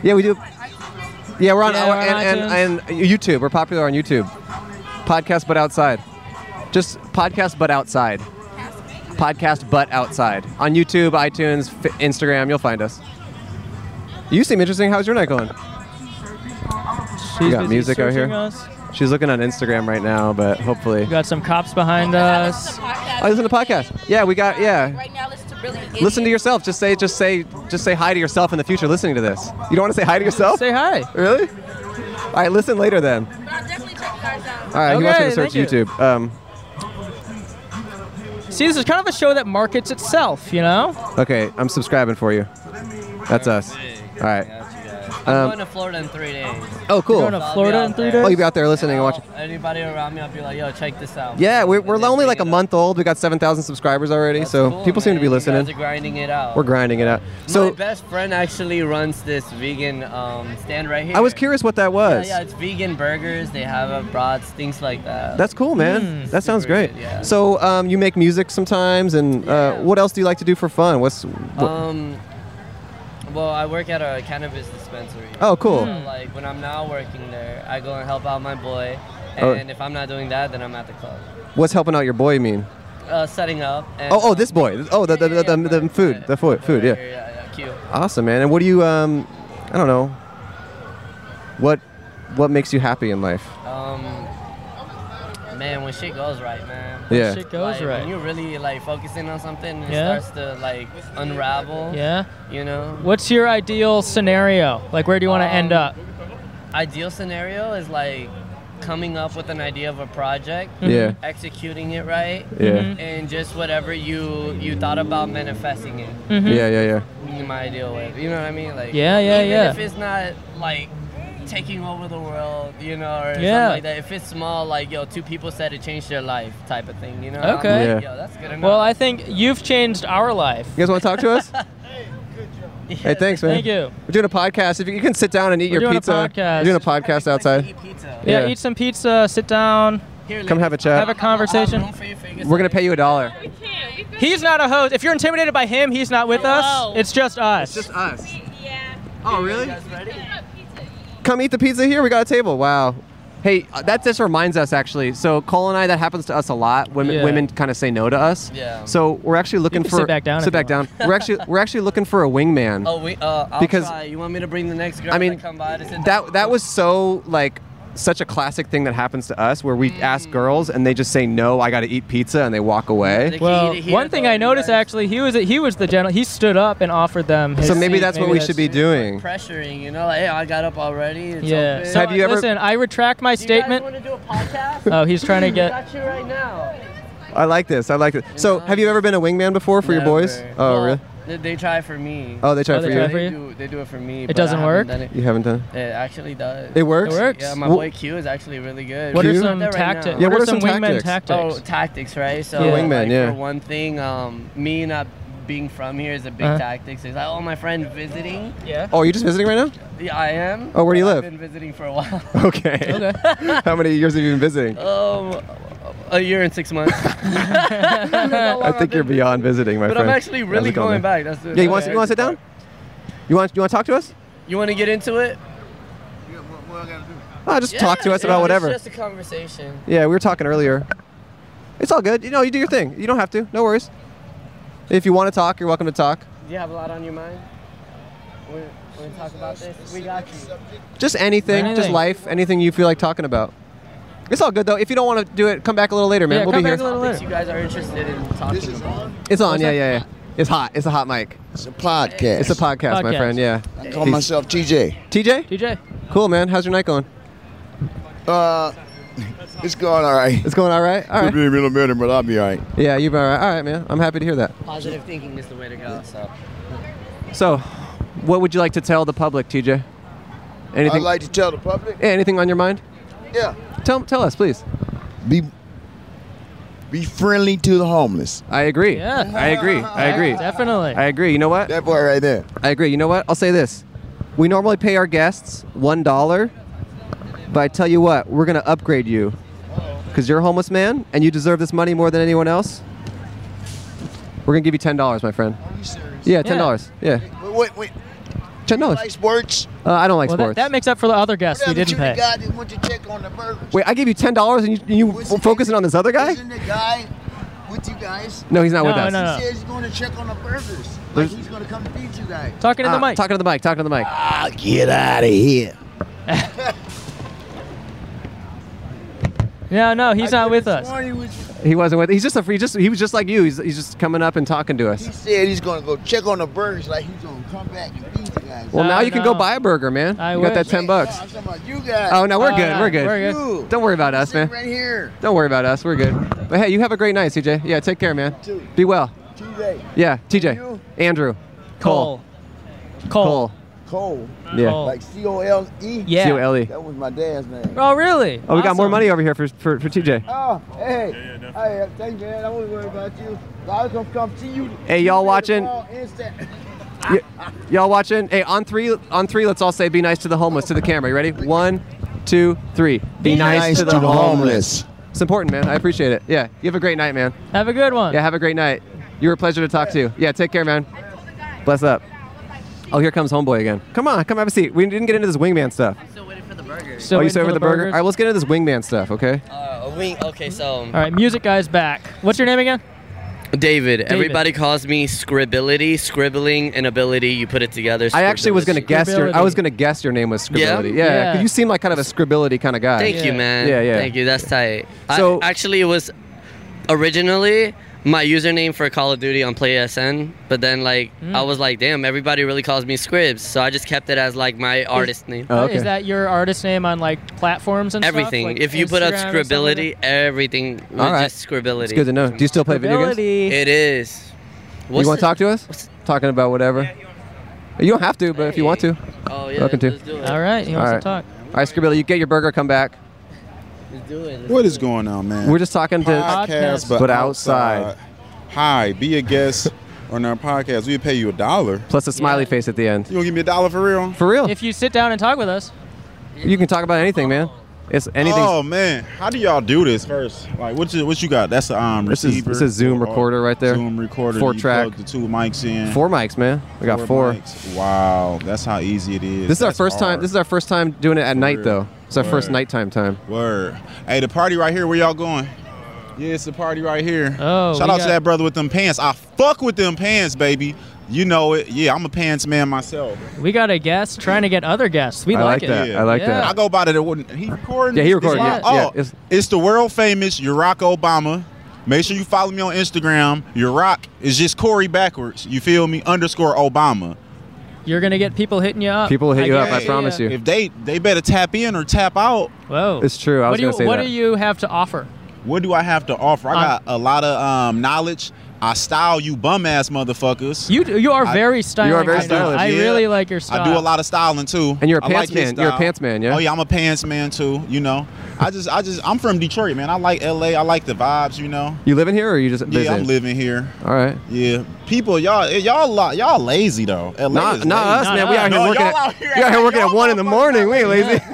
Speaker 2: yeah, we do. Yeah, we're on,
Speaker 1: Yeah, we're on
Speaker 2: and, and, and YouTube. We're popular on YouTube. Podcast, but outside. Just podcast, but outside. Podcast, but outside. On YouTube, iTunes, F- Instagram, you'll find us. You seem interesting. How's your night going?
Speaker 1: She's
Speaker 2: we got
Speaker 1: busy
Speaker 2: music out here.
Speaker 1: searching us.
Speaker 2: She's looking on Instagram right now, but hopefully.
Speaker 1: Got some cops behind us.
Speaker 2: I listen to podcasts. Yeah, we got yeah.
Speaker 18: Right now, listen to really.
Speaker 2: Listen to yourself. Just say, just say, just say hi to yourself in the future. Listening to this, you don't want to say hi to yourself.
Speaker 1: Say hi.
Speaker 2: Really? All right, listen later then. All right, he wants me to
Speaker 1: Okay,
Speaker 2: search
Speaker 1: thank you.
Speaker 2: YouTube. Um,
Speaker 1: See, this is kind of a show that markets itself, you know?
Speaker 2: okay, I'm subscribing for you. That's us. All right.
Speaker 17: I'm
Speaker 2: Um,
Speaker 17: going to Florida in three days.
Speaker 2: Oh, cool.
Speaker 17: So I'll be out there.
Speaker 2: Oh, you'll be out there listening and watching.
Speaker 17: Anybody around me, I'll be like, yo, check this out.
Speaker 2: Yeah, we're, we're only like a month old. We got 7,000 subscribers already, so people seem to be
Speaker 17: You
Speaker 2: listening.
Speaker 17: guys are grinding it out.
Speaker 2: We're grinding it out.
Speaker 17: My
Speaker 2: So
Speaker 17: best friend actually runs this vegan um, stand right here.
Speaker 2: I was curious what that was.
Speaker 17: Yeah, yeah, it's vegan burgers. They have uh, brats, things like that.
Speaker 2: That's cool, man.
Speaker 1: Mm,
Speaker 2: that sounds great.
Speaker 17: yeah.
Speaker 2: So um, you make music sometimes, and uh, what else do you like to do for fun? What's
Speaker 1: Hmm.
Speaker 2: wh-
Speaker 17: Um, well, I work at a cannabis dispensary.
Speaker 2: Oh, cool.
Speaker 17: So, like when I'm not working there, I go and help out my boy.
Speaker 2: Oh.
Speaker 17: And if I'm not doing that, then I'm at the club,
Speaker 2: what's helping out your boy mean?
Speaker 17: uh, setting up. And,
Speaker 2: Oh, oh, this boy. Oh, the the, the, the, the food, the food, food, yeah.
Speaker 17: cute.
Speaker 2: Awesome, man. And what do you um, I don't know. What what makes you happy in life?
Speaker 17: Um, man, when shit goes right, man.
Speaker 2: When Yeah. shit
Speaker 1: goes
Speaker 17: Like,
Speaker 1: right.
Speaker 17: When you're really like focusing on something, and
Speaker 1: Yeah.
Speaker 17: it starts to like unravel.
Speaker 1: Yeah.
Speaker 17: You know.
Speaker 1: What's your ideal scenario? Like, where do you want to end
Speaker 17: Um,
Speaker 1: up?
Speaker 17: Ideal scenario is like coming up with an idea of a project,
Speaker 1: Mhm. Yeah.
Speaker 17: executing it right,
Speaker 2: Yeah.
Speaker 1: Mm-hmm.
Speaker 2: Mhm.
Speaker 17: and just whatever you you thought about manifesting it.
Speaker 1: Mhm.
Speaker 2: Yeah, yeah, yeah.
Speaker 17: In my ideal way, you know what I mean? Like
Speaker 1: Yeah, yeah,
Speaker 17: even
Speaker 1: yeah.
Speaker 17: If it's not like taking over the world, you know, or
Speaker 1: Yeah.
Speaker 17: something like that. If it's small, like yo, two people said it changed their life, type of thing, you know? I'm
Speaker 1: Okay.
Speaker 17: like, yo, that's good enough.
Speaker 1: Well, I think you've changed our life.
Speaker 2: You guys want to talk
Speaker 1: [laughs]
Speaker 2: to us? Hey, thanks, man.
Speaker 1: Thank you.
Speaker 2: We're doing a podcast. If you, you can sit down and eat
Speaker 1: We're
Speaker 2: your
Speaker 1: doing a
Speaker 2: pizza,
Speaker 1: podcast.
Speaker 2: we're doing a podcast outside.
Speaker 1: Yeah, eat some pizza, sit down.
Speaker 2: Come have a chat.
Speaker 1: Have a conversation.
Speaker 2: We're gonna pay you a dollar.
Speaker 1: He's not a host. If you're intimidated by him, he's not with us. It's just us.
Speaker 2: It's just us. Oh, really? Come eat the pizza here. We got a table. Wow. Hey, uh, that just reminds us actually. So Cole and I, that happens to us a lot. Women,
Speaker 1: Yeah.
Speaker 2: women kind of say no to us.
Speaker 17: Yeah.
Speaker 2: So we're actually looking
Speaker 1: can
Speaker 2: for
Speaker 1: sit back down if
Speaker 2: Sit
Speaker 1: you
Speaker 2: back down.
Speaker 17: [laughs]
Speaker 2: we're actually we're actually looking for a wingman.
Speaker 17: Oh, we, uh, I'll
Speaker 2: Because-
Speaker 17: try. You want me to bring the next girl
Speaker 2: I mean,
Speaker 17: that come by to sit
Speaker 2: that that was so like such a classic thing that happens to us where we
Speaker 17: Mm.
Speaker 2: ask girls and they just say no. I got to eat pizza and they walk away.
Speaker 1: Well, one thing I noticed actually, he was he was the gentle. He stood up and offered them. His
Speaker 2: So maybe
Speaker 1: seat.
Speaker 2: that's what we should be doing.
Speaker 17: pressuring, you know, like, hey, I got up already. It's
Speaker 1: Yeah.
Speaker 17: open.
Speaker 1: So have you ever? Listen, I retract my statement.
Speaker 17: want to do a podcast?
Speaker 1: Oh, he's trying to
Speaker 17: [laughs]
Speaker 1: get.
Speaker 17: got you right now.
Speaker 2: I like this. I like this. So have you ever been a wingman before for your boys?
Speaker 17: Never.
Speaker 2: Oh, really?
Speaker 17: They, they try for me.
Speaker 2: Oh, they try Oh, they for try you? for
Speaker 17: They
Speaker 2: you?
Speaker 17: do, they do it for me.
Speaker 1: It
Speaker 17: but I
Speaker 1: doesn't
Speaker 17: haven't
Speaker 1: work?
Speaker 17: done it.
Speaker 2: You haven't done
Speaker 17: It actually does.
Speaker 2: It works? It works.
Speaker 17: Yeah, my
Speaker 2: Wh-
Speaker 17: boy Q is actually really good.
Speaker 1: What are
Speaker 17: He's
Speaker 1: some
Speaker 17: not there right
Speaker 1: tacti-
Speaker 17: now.
Speaker 1: Yeah, what what are are some some wingman tactics? tactics?
Speaker 17: Oh, tactics, right? So,
Speaker 1: Yeah.
Speaker 2: Wingman,
Speaker 17: like,
Speaker 2: yeah.
Speaker 17: For one thing, um, me not being from here is a big
Speaker 2: Uh-huh.
Speaker 17: tactic. It's like, oh, my friend visiting. Yeah.
Speaker 2: Oh, you're just visiting right now?
Speaker 17: Yeah, I am.
Speaker 2: Oh, where do you
Speaker 17: but
Speaker 2: live?
Speaker 17: I've been visiting for a while.
Speaker 2: [laughs]
Speaker 17: [laughs]
Speaker 2: Okay. How many years have you been visiting?
Speaker 17: um, [laughs] a year and six months.
Speaker 2: I think you're beyond visiting, my
Speaker 17: But I'm
Speaker 2: friend.
Speaker 17: actually
Speaker 2: How's
Speaker 17: really
Speaker 2: it going,
Speaker 17: going
Speaker 2: man?
Speaker 17: back. That's the-
Speaker 2: yeah, you want
Speaker 17: okay.
Speaker 2: you want to sit down? You want you want to talk to us?
Speaker 17: You want to get into it?
Speaker 2: Oh, just talk to
Speaker 17: Yeah,
Speaker 2: us about
Speaker 17: it's
Speaker 2: whatever.
Speaker 17: just a conversation.
Speaker 2: Yeah, we were talking earlier. It's all good. You know, you do your thing. You don't have to. No worries. If you want to talk, you're welcome to talk.
Speaker 17: Do you have a lot on your mind? We're, we're gonna talk about this. We got you.
Speaker 2: Just anything, just
Speaker 17: Anything.
Speaker 2: life, anything you feel like talking about. It's all good though. If you don't want to do it, come back a little later, man. we'll be here.
Speaker 17: Topics You guys are interested in talking about.
Speaker 2: It's on. Yeah, yeah, yeah. It's hot. It's a hot mic. It's a podcast. It's a podcast, my
Speaker 17: Podcast.
Speaker 2: friend. Yeah.
Speaker 17: I
Speaker 13: call
Speaker 2: He's-
Speaker 13: myself TJ.
Speaker 2: TJ.
Speaker 1: TJ.
Speaker 2: Cool, man. How's your night going?
Speaker 13: Uh, it's going all right.
Speaker 2: It's going all right. All right.
Speaker 13: Could be a little better, but I'll be all right.
Speaker 2: Yeah, you've been all right. All right, man. I'm happy to hear that.
Speaker 17: Positive thinking is the way to go. So.
Speaker 2: So, what would you like to tell the public, TJ? Anything?
Speaker 13: I'd like to tell the public.
Speaker 2: Yeah, anything on your mind?
Speaker 13: Yeah.
Speaker 2: Tell tell us, please.
Speaker 13: Be be friendly to the homeless.
Speaker 2: I agree.
Speaker 1: Yeah.
Speaker 2: I agree. I agree.
Speaker 1: Definitely.
Speaker 2: I agree. You know what?
Speaker 13: That boy right there.
Speaker 2: I agree. You know what? I'll say this. We normally pay our guests one dollar, but I tell you what, we're gonna upgrade you, cause you're a homeless man and you deserve this money more than anyone else. We're gonna give you ten dollars, my friend. Are you serious? Yeah, ten dollars. Yeah,
Speaker 13: Wait, wait, wait.
Speaker 2: ten dollars.
Speaker 13: Like sports.
Speaker 2: Uh, I don't like
Speaker 1: Well, that,
Speaker 2: sports.
Speaker 1: that makes up for the other guests we
Speaker 13: What happened
Speaker 1: didn't
Speaker 13: to
Speaker 1: pay.
Speaker 13: The guy that went to check on the burger.
Speaker 2: Wait, I gave you ten dollars and you, and you focusing on this other guy?
Speaker 13: Isn't the guy with you guys?
Speaker 2: No, he's not with No, us. no, no.
Speaker 13: He says he's going to check on the burgers. Like
Speaker 2: There's-
Speaker 13: he's going to come feed you guys.
Speaker 2: Ah, Talking to the mic. Talking to the mic.
Speaker 13: Ah, get out of
Speaker 1: [laughs]
Speaker 13: here.
Speaker 1: No, no, he's not with us.
Speaker 13: He was-
Speaker 2: He wasn't with. He's just a. He just. He was just like you. He's, he's just coming up and talking
Speaker 13: [laughs]
Speaker 2: to
Speaker 13: he
Speaker 2: us.
Speaker 13: said he's going to go check on the burgers like he's going to come back and feed you guys.
Speaker 2: Well, now you can go buy a burger, man.
Speaker 1: I
Speaker 2: you
Speaker 1: wish.
Speaker 2: got that ten bucks.
Speaker 13: I'm talking about you guys.
Speaker 2: Oh no, we're
Speaker 13: Oh,
Speaker 2: good.
Speaker 13: yeah,
Speaker 2: We're good.
Speaker 13: we're good. You.
Speaker 2: Don't worry about us, man.
Speaker 13: Right here.
Speaker 2: Don't worry about us. We're good. But hey, you have a great night, CJ. Yeah, take care, man.
Speaker 13: Too.
Speaker 2: Be well.
Speaker 13: TJ.
Speaker 2: Yeah,
Speaker 13: You?
Speaker 2: TJ, Andrew, Cole,
Speaker 1: Cole.
Speaker 19: Cole.
Speaker 2: Yeah. Cole.
Speaker 19: Like C O L E.
Speaker 2: Yeah. C-O-L-E.
Speaker 19: That was my dad's name.
Speaker 1: Oh, really?
Speaker 2: Oh, we got more money over here for for, for TJ.
Speaker 19: Oh, hey. hey, uh, thank you, man. I wasn't worried about you. I was gonna come see you.
Speaker 2: Hey, y'all watching? Y- y'all watching? Hey, on three, on three. Let's all say, "Be nice to the homeless." To the camera. You ready? One, two, three.
Speaker 19: Be nice to the homeless.
Speaker 2: It's important, man. I appreciate it. Yeah. You have a great night, man.
Speaker 1: Have a good one.
Speaker 2: Yeah. Have a great night. You were a pleasure to talk to. Yeah. Take care, man. Bless up. Oh, here comes homeboy again. Come on, come have a seat. We didn't get into this wingman stuff.
Speaker 1: Still
Speaker 2: oh, you
Speaker 1: waiting
Speaker 2: still over
Speaker 1: for
Speaker 2: the
Speaker 1: the
Speaker 2: burger?
Speaker 1: burgers?
Speaker 2: All right, let's get into this wingman stuff, okay?
Speaker 13: Uh, wing. Okay, so.
Speaker 1: All right, music guy's back. What's your name again?
Speaker 13: David, everybody calls me scribility, scribbling, and ability. You put it together.
Speaker 2: I actually was gonna
Speaker 13: scribility.
Speaker 2: guess your. I was gonna guess your name was Scribility.
Speaker 13: Yeah?
Speaker 2: Yeah,
Speaker 13: Yeah.
Speaker 2: 'cause you seem like kind of a Scribility kind of guy.
Speaker 13: Thank you, man.
Speaker 2: Yeah, yeah.
Speaker 13: Thank you. That's tight.
Speaker 2: So-
Speaker 13: So actually, it was originally my username for Call of Duty on PlaySN, but then like
Speaker 1: Mm.
Speaker 13: I was like, damn, everybody really calls me Scribs, so I just kept it as like my artist name.
Speaker 2: Oh,
Speaker 1: Is that your artist name on like platforms and
Speaker 13: everything?
Speaker 1: Stuff? Like
Speaker 13: if you put up
Speaker 1: Instagram and stuff like
Speaker 13: Scribility, everything was
Speaker 2: All right.
Speaker 13: just Scribility.
Speaker 2: It's good to know. Do you still play video games?
Speaker 1: Scribility.
Speaker 13: It is.
Speaker 2: you want to talk to us? Talking about whatever. you don't have to, but if you want to.
Speaker 13: Oh, yeah,
Speaker 2: Welcome to.
Speaker 13: let's do
Speaker 1: it. All right, he wants to talk.
Speaker 2: All right, Scribility, you get your burger, come back.
Speaker 20: What is going on, man?
Speaker 2: We're just talking to-
Speaker 20: podcast, but,
Speaker 2: But outside.
Speaker 20: outside. Hi, be a
Speaker 2: [laughs]
Speaker 20: guest on our podcast. We pay you a dollar.
Speaker 2: Plus a smiley face at the end.
Speaker 20: You gonna give me a dollar for real?
Speaker 2: For real?
Speaker 1: that? If you sit down and talk with us,
Speaker 2: You can talk about anything, man. It's anything.
Speaker 20: Oh man, how do y'all do this first? Like, what you what you got? That's a um
Speaker 2: This is-
Speaker 20: receiver.
Speaker 2: this is Zoom
Speaker 20: or-
Speaker 2: recorder right there.
Speaker 20: Zoom recorder.
Speaker 2: Four
Speaker 20: You
Speaker 2: track.
Speaker 20: plug The two mics in.
Speaker 2: Four mics, man. We got four.
Speaker 20: mics. Wow, that's how easy it is.
Speaker 2: This is our
Speaker 20: That's
Speaker 2: first time.
Speaker 20: hard.
Speaker 2: This is our first time doing it at night,
Speaker 20: real.
Speaker 2: though. It's our first
Speaker 20: Word.
Speaker 2: nighttime time.
Speaker 20: Word. Hey, the party right here. Where y'all going? Yeah, it's the party right here.
Speaker 1: Oh,
Speaker 20: Shout
Speaker 1: we
Speaker 20: out
Speaker 1: got-
Speaker 20: to that brother with them pants. I fuck with them pants, baby. You know it. Yeah, I'm a pants man myself.
Speaker 1: we got a guest trying to get other guests. We
Speaker 20: I
Speaker 1: like,
Speaker 20: like
Speaker 1: it.
Speaker 20: that. I like that. I go by the one. He recording.
Speaker 2: Yeah, he
Speaker 20: It's-
Speaker 2: recording,
Speaker 20: it's-
Speaker 2: yeah, yeah,
Speaker 20: oh, it's, the world famous Barack Obama. Make sure you follow me on Instagram. Barack is just Corey backwards. You feel me? Underscore Obama.
Speaker 1: You're gonna get people hitting you up. guarantee ya.
Speaker 20: If they they better tap in or tap out.
Speaker 1: Whoa.
Speaker 2: It's true. I
Speaker 1: what
Speaker 2: was
Speaker 1: do you,
Speaker 2: gonna say
Speaker 1: What
Speaker 2: that.
Speaker 1: do you have to offer?
Speaker 20: What do I have to offer? I
Speaker 1: Um,
Speaker 20: got a lot of um, knowledge. I style you bum ass motherfuckers.
Speaker 1: You you are
Speaker 20: I-
Speaker 1: very stylish. I know. I really like your style.
Speaker 20: I do a lot of styling too.
Speaker 2: And you're a
Speaker 20: I
Speaker 2: pants
Speaker 20: his
Speaker 2: man. You're a
Speaker 20: style.
Speaker 2: pants man, yeah?
Speaker 20: Oh yeah, I'm a pants man too. You know, I just I just I'm from Detroit, man. I like LA. I like the vibes. You know.
Speaker 2: You living here or you just
Speaker 20: Yeah, I'm
Speaker 2: visiting?
Speaker 20: living here.
Speaker 2: All right.
Speaker 20: Yeah, people, y'all, eh, y'all, la- y'all lazy though. LA
Speaker 2: Not,
Speaker 20: is
Speaker 2: not us,
Speaker 20: lazy.
Speaker 2: man. we out here
Speaker 20: No,
Speaker 2: working.
Speaker 20: y'all out
Speaker 2: At,
Speaker 20: here
Speaker 2: we out here working at one in the morning. We ain't lazy. [laughs]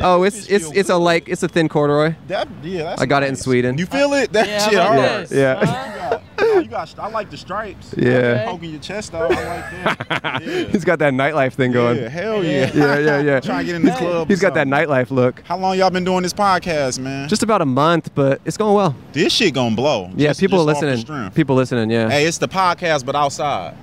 Speaker 2: Oh, it's it's it's a like it's a thin corduroy.
Speaker 20: That, yeah, that's
Speaker 2: I got it in Sweden.
Speaker 20: You feel it? That Yeah, how shit about hard.
Speaker 2: this? Yeah.
Speaker 20: No, you got. I like the stripes.
Speaker 2: Yeah. Okay.
Speaker 20: Poking your chest out. I like that. Yeah.
Speaker 2: He's got that nightlife thing going.
Speaker 20: Yeah, hell yeah.
Speaker 2: Yeah, yeah, yeah.
Speaker 20: Trying to get in the
Speaker 2: He's-
Speaker 20: club
Speaker 2: He's
Speaker 20: or
Speaker 2: got that nightlife look.
Speaker 20: How long y'all been doing this podcast, man?
Speaker 2: Just about a month, but it's going well.
Speaker 20: This shit gonna blow.
Speaker 2: Yeah,
Speaker 20: Just-
Speaker 2: people
Speaker 20: just off the
Speaker 2: listening.
Speaker 20: strength.
Speaker 2: People listening. Yeah.
Speaker 20: Hey, it's the podcast, but outside.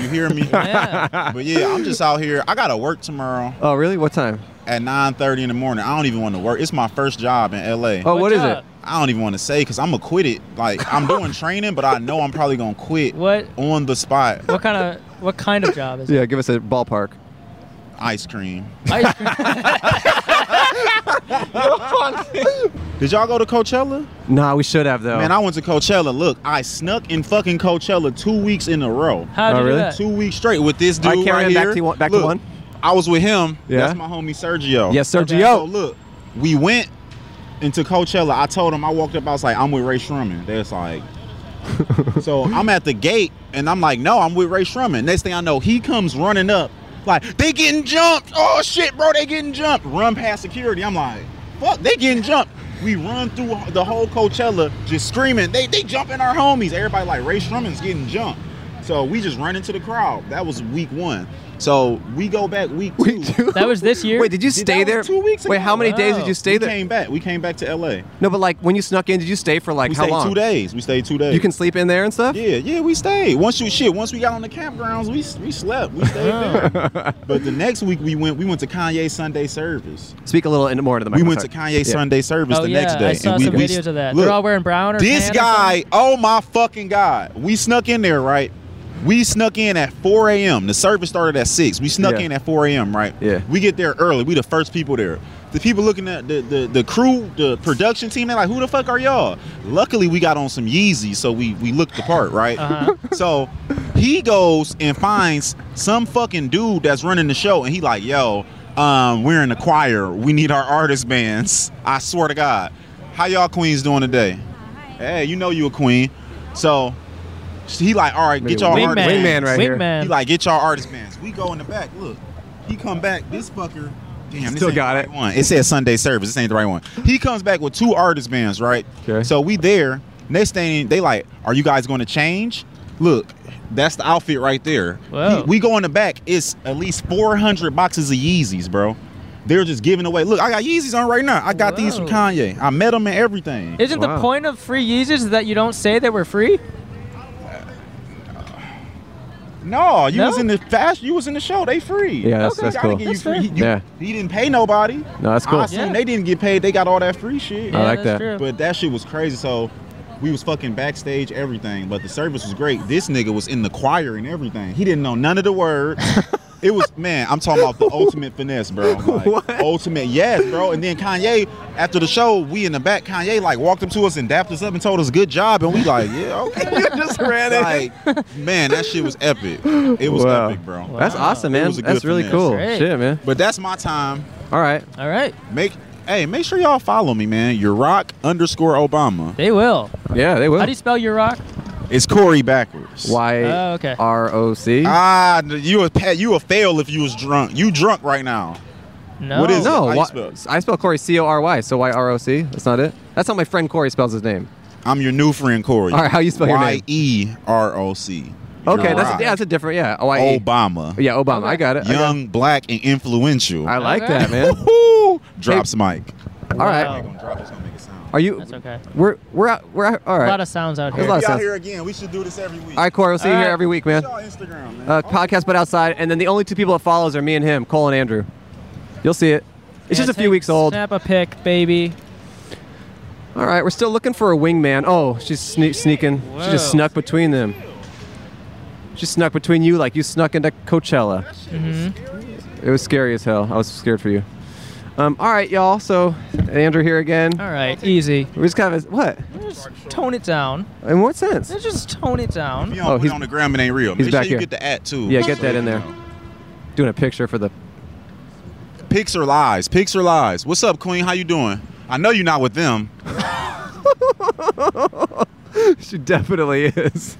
Speaker 20: You hear me?
Speaker 6: [laughs]
Speaker 20: But yeah, I'm just out here. I gotta work tomorrow
Speaker 2: [laughs] Oh, really? What time?
Speaker 20: at 9:30 in the morning. I don't even want to work. It's my first job in LA.
Speaker 2: Oh, what What is job? it?
Speaker 20: I don't even want to say because I'm gonna quit it. Like I'm
Speaker 2: [laughs]
Speaker 20: doing training, but I know I'm probably gonna quit.
Speaker 1: What?
Speaker 20: On the spot.
Speaker 1: What kind of what kind of job is it?
Speaker 2: Yeah, give us a ballpark.
Speaker 20: Ice cream.
Speaker 1: Ice cream.
Speaker 20: [laughs] Did y'all go to Coachella?
Speaker 2: Nah, we should have though.
Speaker 20: Man, I went to Coachella. Look, I snuck in fucking Coachella two weeks in a row.
Speaker 2: How'd you Oh, do really? that?
Speaker 20: Two weeks straight with this dude
Speaker 2: All right, carry
Speaker 20: right
Speaker 2: on back
Speaker 20: here.
Speaker 2: to one- back to
Speaker 20: look,
Speaker 2: one.
Speaker 20: I was with him.
Speaker 2: Yeah.
Speaker 20: That's my homie Sergio.
Speaker 2: Yes, Sergio. Okay.
Speaker 20: So look, we went into Coachella. I told him I walked up. I was like, I'm with Ray Sherman. That's like. so I'm at the gate and I'm like, no, I'm with Ray Sherman. Next thing I know, he comes running up, like, they getting jumped. Oh shit, bro, they getting jumped. Run past security. I'm like, fuck, they getting jumped. We run through the whole Coachella just screaming, they they jumping our homies. Everybody like Ray Sherman's getting jumped. So we just run into the crowd. That was week one. So we go back week two.
Speaker 1: That was this year.
Speaker 20: Wait, did
Speaker 2: you stay there?
Speaker 20: Two weeks
Speaker 2: Wait,
Speaker 20: ago.
Speaker 2: how many days did you stay
Speaker 20: we
Speaker 2: there?
Speaker 20: Came back. We came back to LA.
Speaker 2: No, but like when you snuck in, did you stay for like
Speaker 20: We
Speaker 2: how
Speaker 20: stayed
Speaker 2: long?
Speaker 20: two days. We stayed two days.
Speaker 2: You can sleep in there and stuff.
Speaker 20: Yeah, yeah, we stayed. Once you shit, once we got on the campgrounds, we we slept. We
Speaker 1: [laughs]
Speaker 20: stayed there. but the next week we went we went to Kanye Sunday service.
Speaker 2: Speak a little in- more into the
Speaker 20: We
Speaker 2: microphone.
Speaker 20: went to Kanye Sunday service
Speaker 1: oh,
Speaker 20: the
Speaker 1: yeah,
Speaker 20: next day.
Speaker 1: I saw
Speaker 20: and we,
Speaker 1: some
Speaker 20: we-
Speaker 1: videos of that.
Speaker 20: look,
Speaker 1: They're all wearing brown or
Speaker 20: this
Speaker 1: tan or
Speaker 20: guy, oh my fucking god, we snuck in there, right? We snuck in at 4 a.m. The service started at 6. We snuck
Speaker 2: Yeah.
Speaker 20: in at 4 a.m., right?
Speaker 2: Yeah.
Speaker 20: We get there early. We the first people there. The people looking at the, the the crew, the production team, they're like, who the fuck are y'all? Luckily, we got on some Yeezys, so we we looked the part, right?
Speaker 1: Uh-huh.
Speaker 20: So He goes and finds some fucking dude that's running the show, and he like, yo, um, we're in the choir. We need our artist bands. I swear to God. How y'all queens doing today? Hey, you know you a queen. So he like, all right, get y'all
Speaker 2: Wingman.
Speaker 20: artist
Speaker 2: Wingman
Speaker 20: bands.
Speaker 2: right here. Wingman.
Speaker 20: He like, get y'all artist bands. We go in the back. Look, he come back. This fucker. Damn, this
Speaker 2: Still
Speaker 20: ain't
Speaker 2: got
Speaker 20: the
Speaker 2: it.
Speaker 20: right one. It says Sunday service. This ain't the right one. He comes back with two artist bands, right? Okay. So we there. Next thing they like, are you guys going to change? Look, that's the outfit right there.
Speaker 12: Whoa.
Speaker 20: He- we go in the back. It's at least 400 boxes of Yeezys, bro. They're just giving away. Look, I got Yeezys on right now. I got these from Kanye. I met them and everything.
Speaker 1: Isn't the point of free Yeezys that you don't say they were free?
Speaker 20: No, you
Speaker 1: No?
Speaker 20: was in the fast. You was in the show. They free.
Speaker 2: Yeah, that's- that's
Speaker 20: I didn't
Speaker 2: cool.
Speaker 20: give
Speaker 2: That's
Speaker 20: you free.
Speaker 2: fair.
Speaker 20: You,
Speaker 2: Yeah.
Speaker 20: he didn't pay nobody.
Speaker 2: No, that's cool.
Speaker 20: I seen
Speaker 2: Yeah.
Speaker 20: they didn't get paid. They got all that free shit.
Speaker 2: I Yeah, like that's that. true.
Speaker 20: But that shit was crazy. So we was fucking backstage, everything. But the service was great. This nigga was in the choir and everything. He didn't know none of the
Speaker 2: [laughs]
Speaker 20: words. It was man, I'm talking about the ultimate finesse, bro. Like, Ultimate, yes, bro. And then Kanye, after the show, we in the back. Kanye like walked up to us and dapped us up and told us good job, and we like, yeah, okay.
Speaker 6: [laughs]
Speaker 1: [laughs]
Speaker 2: just ran in.
Speaker 20: Like, man, that shit was epic. It was
Speaker 2: Wow.
Speaker 20: epic, bro.
Speaker 2: That's awesome, man.
Speaker 20: It was a
Speaker 2: That's
Speaker 20: good
Speaker 2: really
Speaker 20: finesse.
Speaker 2: cool. Great. Shit, man.
Speaker 20: But that's my time.
Speaker 2: All right.
Speaker 1: All right.
Speaker 20: Make hey, make sure y'all follow me, man. Your rock underscore Obama.
Speaker 1: They will.
Speaker 2: Yeah, they will.
Speaker 1: How do you spell your rock?
Speaker 20: It's Corey backwards.
Speaker 1: Oh, okay.
Speaker 20: Y
Speaker 2: R O C.
Speaker 20: Ah, you a pa- you a fail if you was drunk. You drunk right now. What is
Speaker 2: no?
Speaker 20: It? How you
Speaker 2: why-
Speaker 20: spell it?
Speaker 2: I spell Corey C O R Y. So Y R O C. That's not it. That's how my friend Corey spells his name.
Speaker 20: I'm your new friend Corey.
Speaker 2: All right, how you spell your name?
Speaker 20: Y E R O C.
Speaker 2: Okay, that's a, yeah, that's a different yeah. O I E.
Speaker 20: Obama.
Speaker 2: Yeah, Obama. I got it. I got
Speaker 20: Young, black, and influential.
Speaker 2: I like Okay. that, man.
Speaker 20: Woo-hoo! Drops mic.
Speaker 2: All right. Are you? That's
Speaker 1: okay.
Speaker 2: We're we're out. We're out. All right.
Speaker 1: A lot of sounds out
Speaker 2: There's
Speaker 1: here.
Speaker 2: a lot of sounds.
Speaker 20: again. We should do this every week.
Speaker 2: All right, Corey. We'll see you here every week, man. Uh, podcast, but outside, and then the only two people that follows are me and him, Cole and Andrew. You'll see it. It's
Speaker 1: Yeah,
Speaker 2: just a
Speaker 1: take-
Speaker 2: few weeks old.
Speaker 1: Snap a pic, baby.
Speaker 2: All right, we're still looking for a wingman. Oh, she's sne- sneaking. She just
Speaker 1: Whoa.
Speaker 2: snuck between them. She snuck between you like you snuck into Coachella.
Speaker 1: Mm-hmm.
Speaker 2: It was scary as hell. I was scared for you. Um, all right, y'all. So Andrew here again. All
Speaker 1: right, easy.
Speaker 2: We're just kind of what?
Speaker 1: Just tone it down.
Speaker 2: In what sense?
Speaker 1: Let's Just tone it down.
Speaker 20: You don't put it on the gram, it ain't real.
Speaker 2: Oh, He's
Speaker 20: Make
Speaker 2: back
Speaker 20: sure you
Speaker 2: here.
Speaker 20: get the at too.
Speaker 2: Yeah, get
Speaker 20: So
Speaker 2: that
Speaker 20: you
Speaker 2: in [laughs] there. Doing a picture for the
Speaker 20: Pics are lies. Pics are lies. What's up, Queen? How you doing? I know you're not with
Speaker 2: [laughs]
Speaker 20: them.
Speaker 2: she definitely is.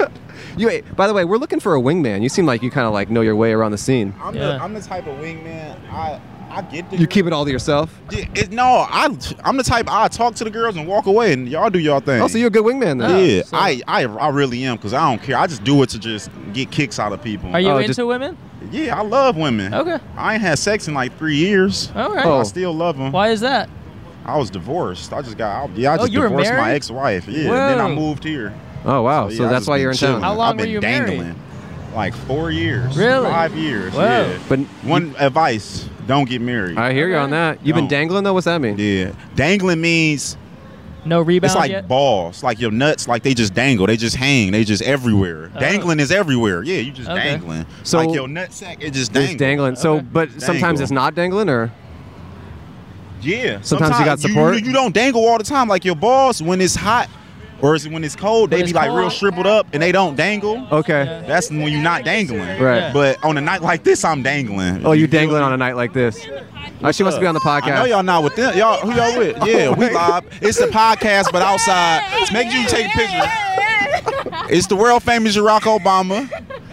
Speaker 2: [laughs] you wait. By the way, we're looking for a wingman. You seem like you kind of like know your way around the scene.
Speaker 20: I'm, the, I'm the type of wingman. I I get the
Speaker 2: You keep it all to yourself.
Speaker 20: Yeah, it, no, I I'm the type I talk to the girls and walk away and y'all do y'all thing.
Speaker 2: Oh, so you're a good wingman then.
Speaker 20: yeah, I, I I really am because I don't care. I just do it to just get kicks out of people.
Speaker 1: Are you
Speaker 2: Oh,
Speaker 1: into women?
Speaker 20: Yeah, I love women.
Speaker 1: Okay.
Speaker 20: I ain't had sex in like three years.
Speaker 1: Okay.
Speaker 2: Oh.
Speaker 20: I still love them.
Speaker 1: Why is that?
Speaker 20: I was divorced. I just got. I, yeah, I
Speaker 1: Oh,
Speaker 20: just
Speaker 1: you were
Speaker 20: divorced my
Speaker 1: married?
Speaker 20: ex-wife. Yeah, and then I
Speaker 1: Whoa.
Speaker 20: moved here.
Speaker 2: Oh wow.
Speaker 20: yeah,
Speaker 2: So
Speaker 20: I
Speaker 2: that's
Speaker 20: just
Speaker 2: why
Speaker 20: been
Speaker 2: you're in
Speaker 20: chilling.
Speaker 2: town.
Speaker 1: How long
Speaker 20: I've
Speaker 1: were
Speaker 20: been
Speaker 1: you married?
Speaker 20: dangling. Like four years.
Speaker 1: Really?
Speaker 20: Five years.
Speaker 1: Whoa.
Speaker 20: Yeah.
Speaker 2: But
Speaker 20: one advice: don't get married.
Speaker 2: I hear you on that. You've been dangling though. What's that mean?
Speaker 20: Yeah, dangling means
Speaker 1: no rebound.
Speaker 20: It's like
Speaker 1: yet?
Speaker 20: balls, like your nuts, like they just dangle, they just hang, they just everywhere. Dangling is everywhere. Yeah, you just
Speaker 1: Oh. Okay.
Speaker 20: dangling.
Speaker 2: So-
Speaker 20: like your nutsack, it just
Speaker 2: It's
Speaker 20: dangling.
Speaker 2: dangling. So, but sometimes
Speaker 20: Dangle.
Speaker 2: it's not dangling, or
Speaker 20: Yeah.
Speaker 2: Sometimes you got support?
Speaker 20: You, don't dangle all the time. Like your balls, when it's hot or is it when it's cold, they
Speaker 2: it's
Speaker 20: be like real
Speaker 2: cold.
Speaker 20: shriveled up and they don't dangle.
Speaker 2: Okay.
Speaker 20: That's when you're not dangling.
Speaker 2: Right.
Speaker 20: But on a night like this, I'm dangling.
Speaker 2: oh, you dangling on a night like this. Oh, she must be on the podcast.
Speaker 20: I know y'all not with them. Y'all, who y'all with? Yeah,
Speaker 2: Oh,
Speaker 20: we
Speaker 2: my-
Speaker 20: live. It's the podcast, but outside. Make sure you take pictures. It's the world famous Barack Obama.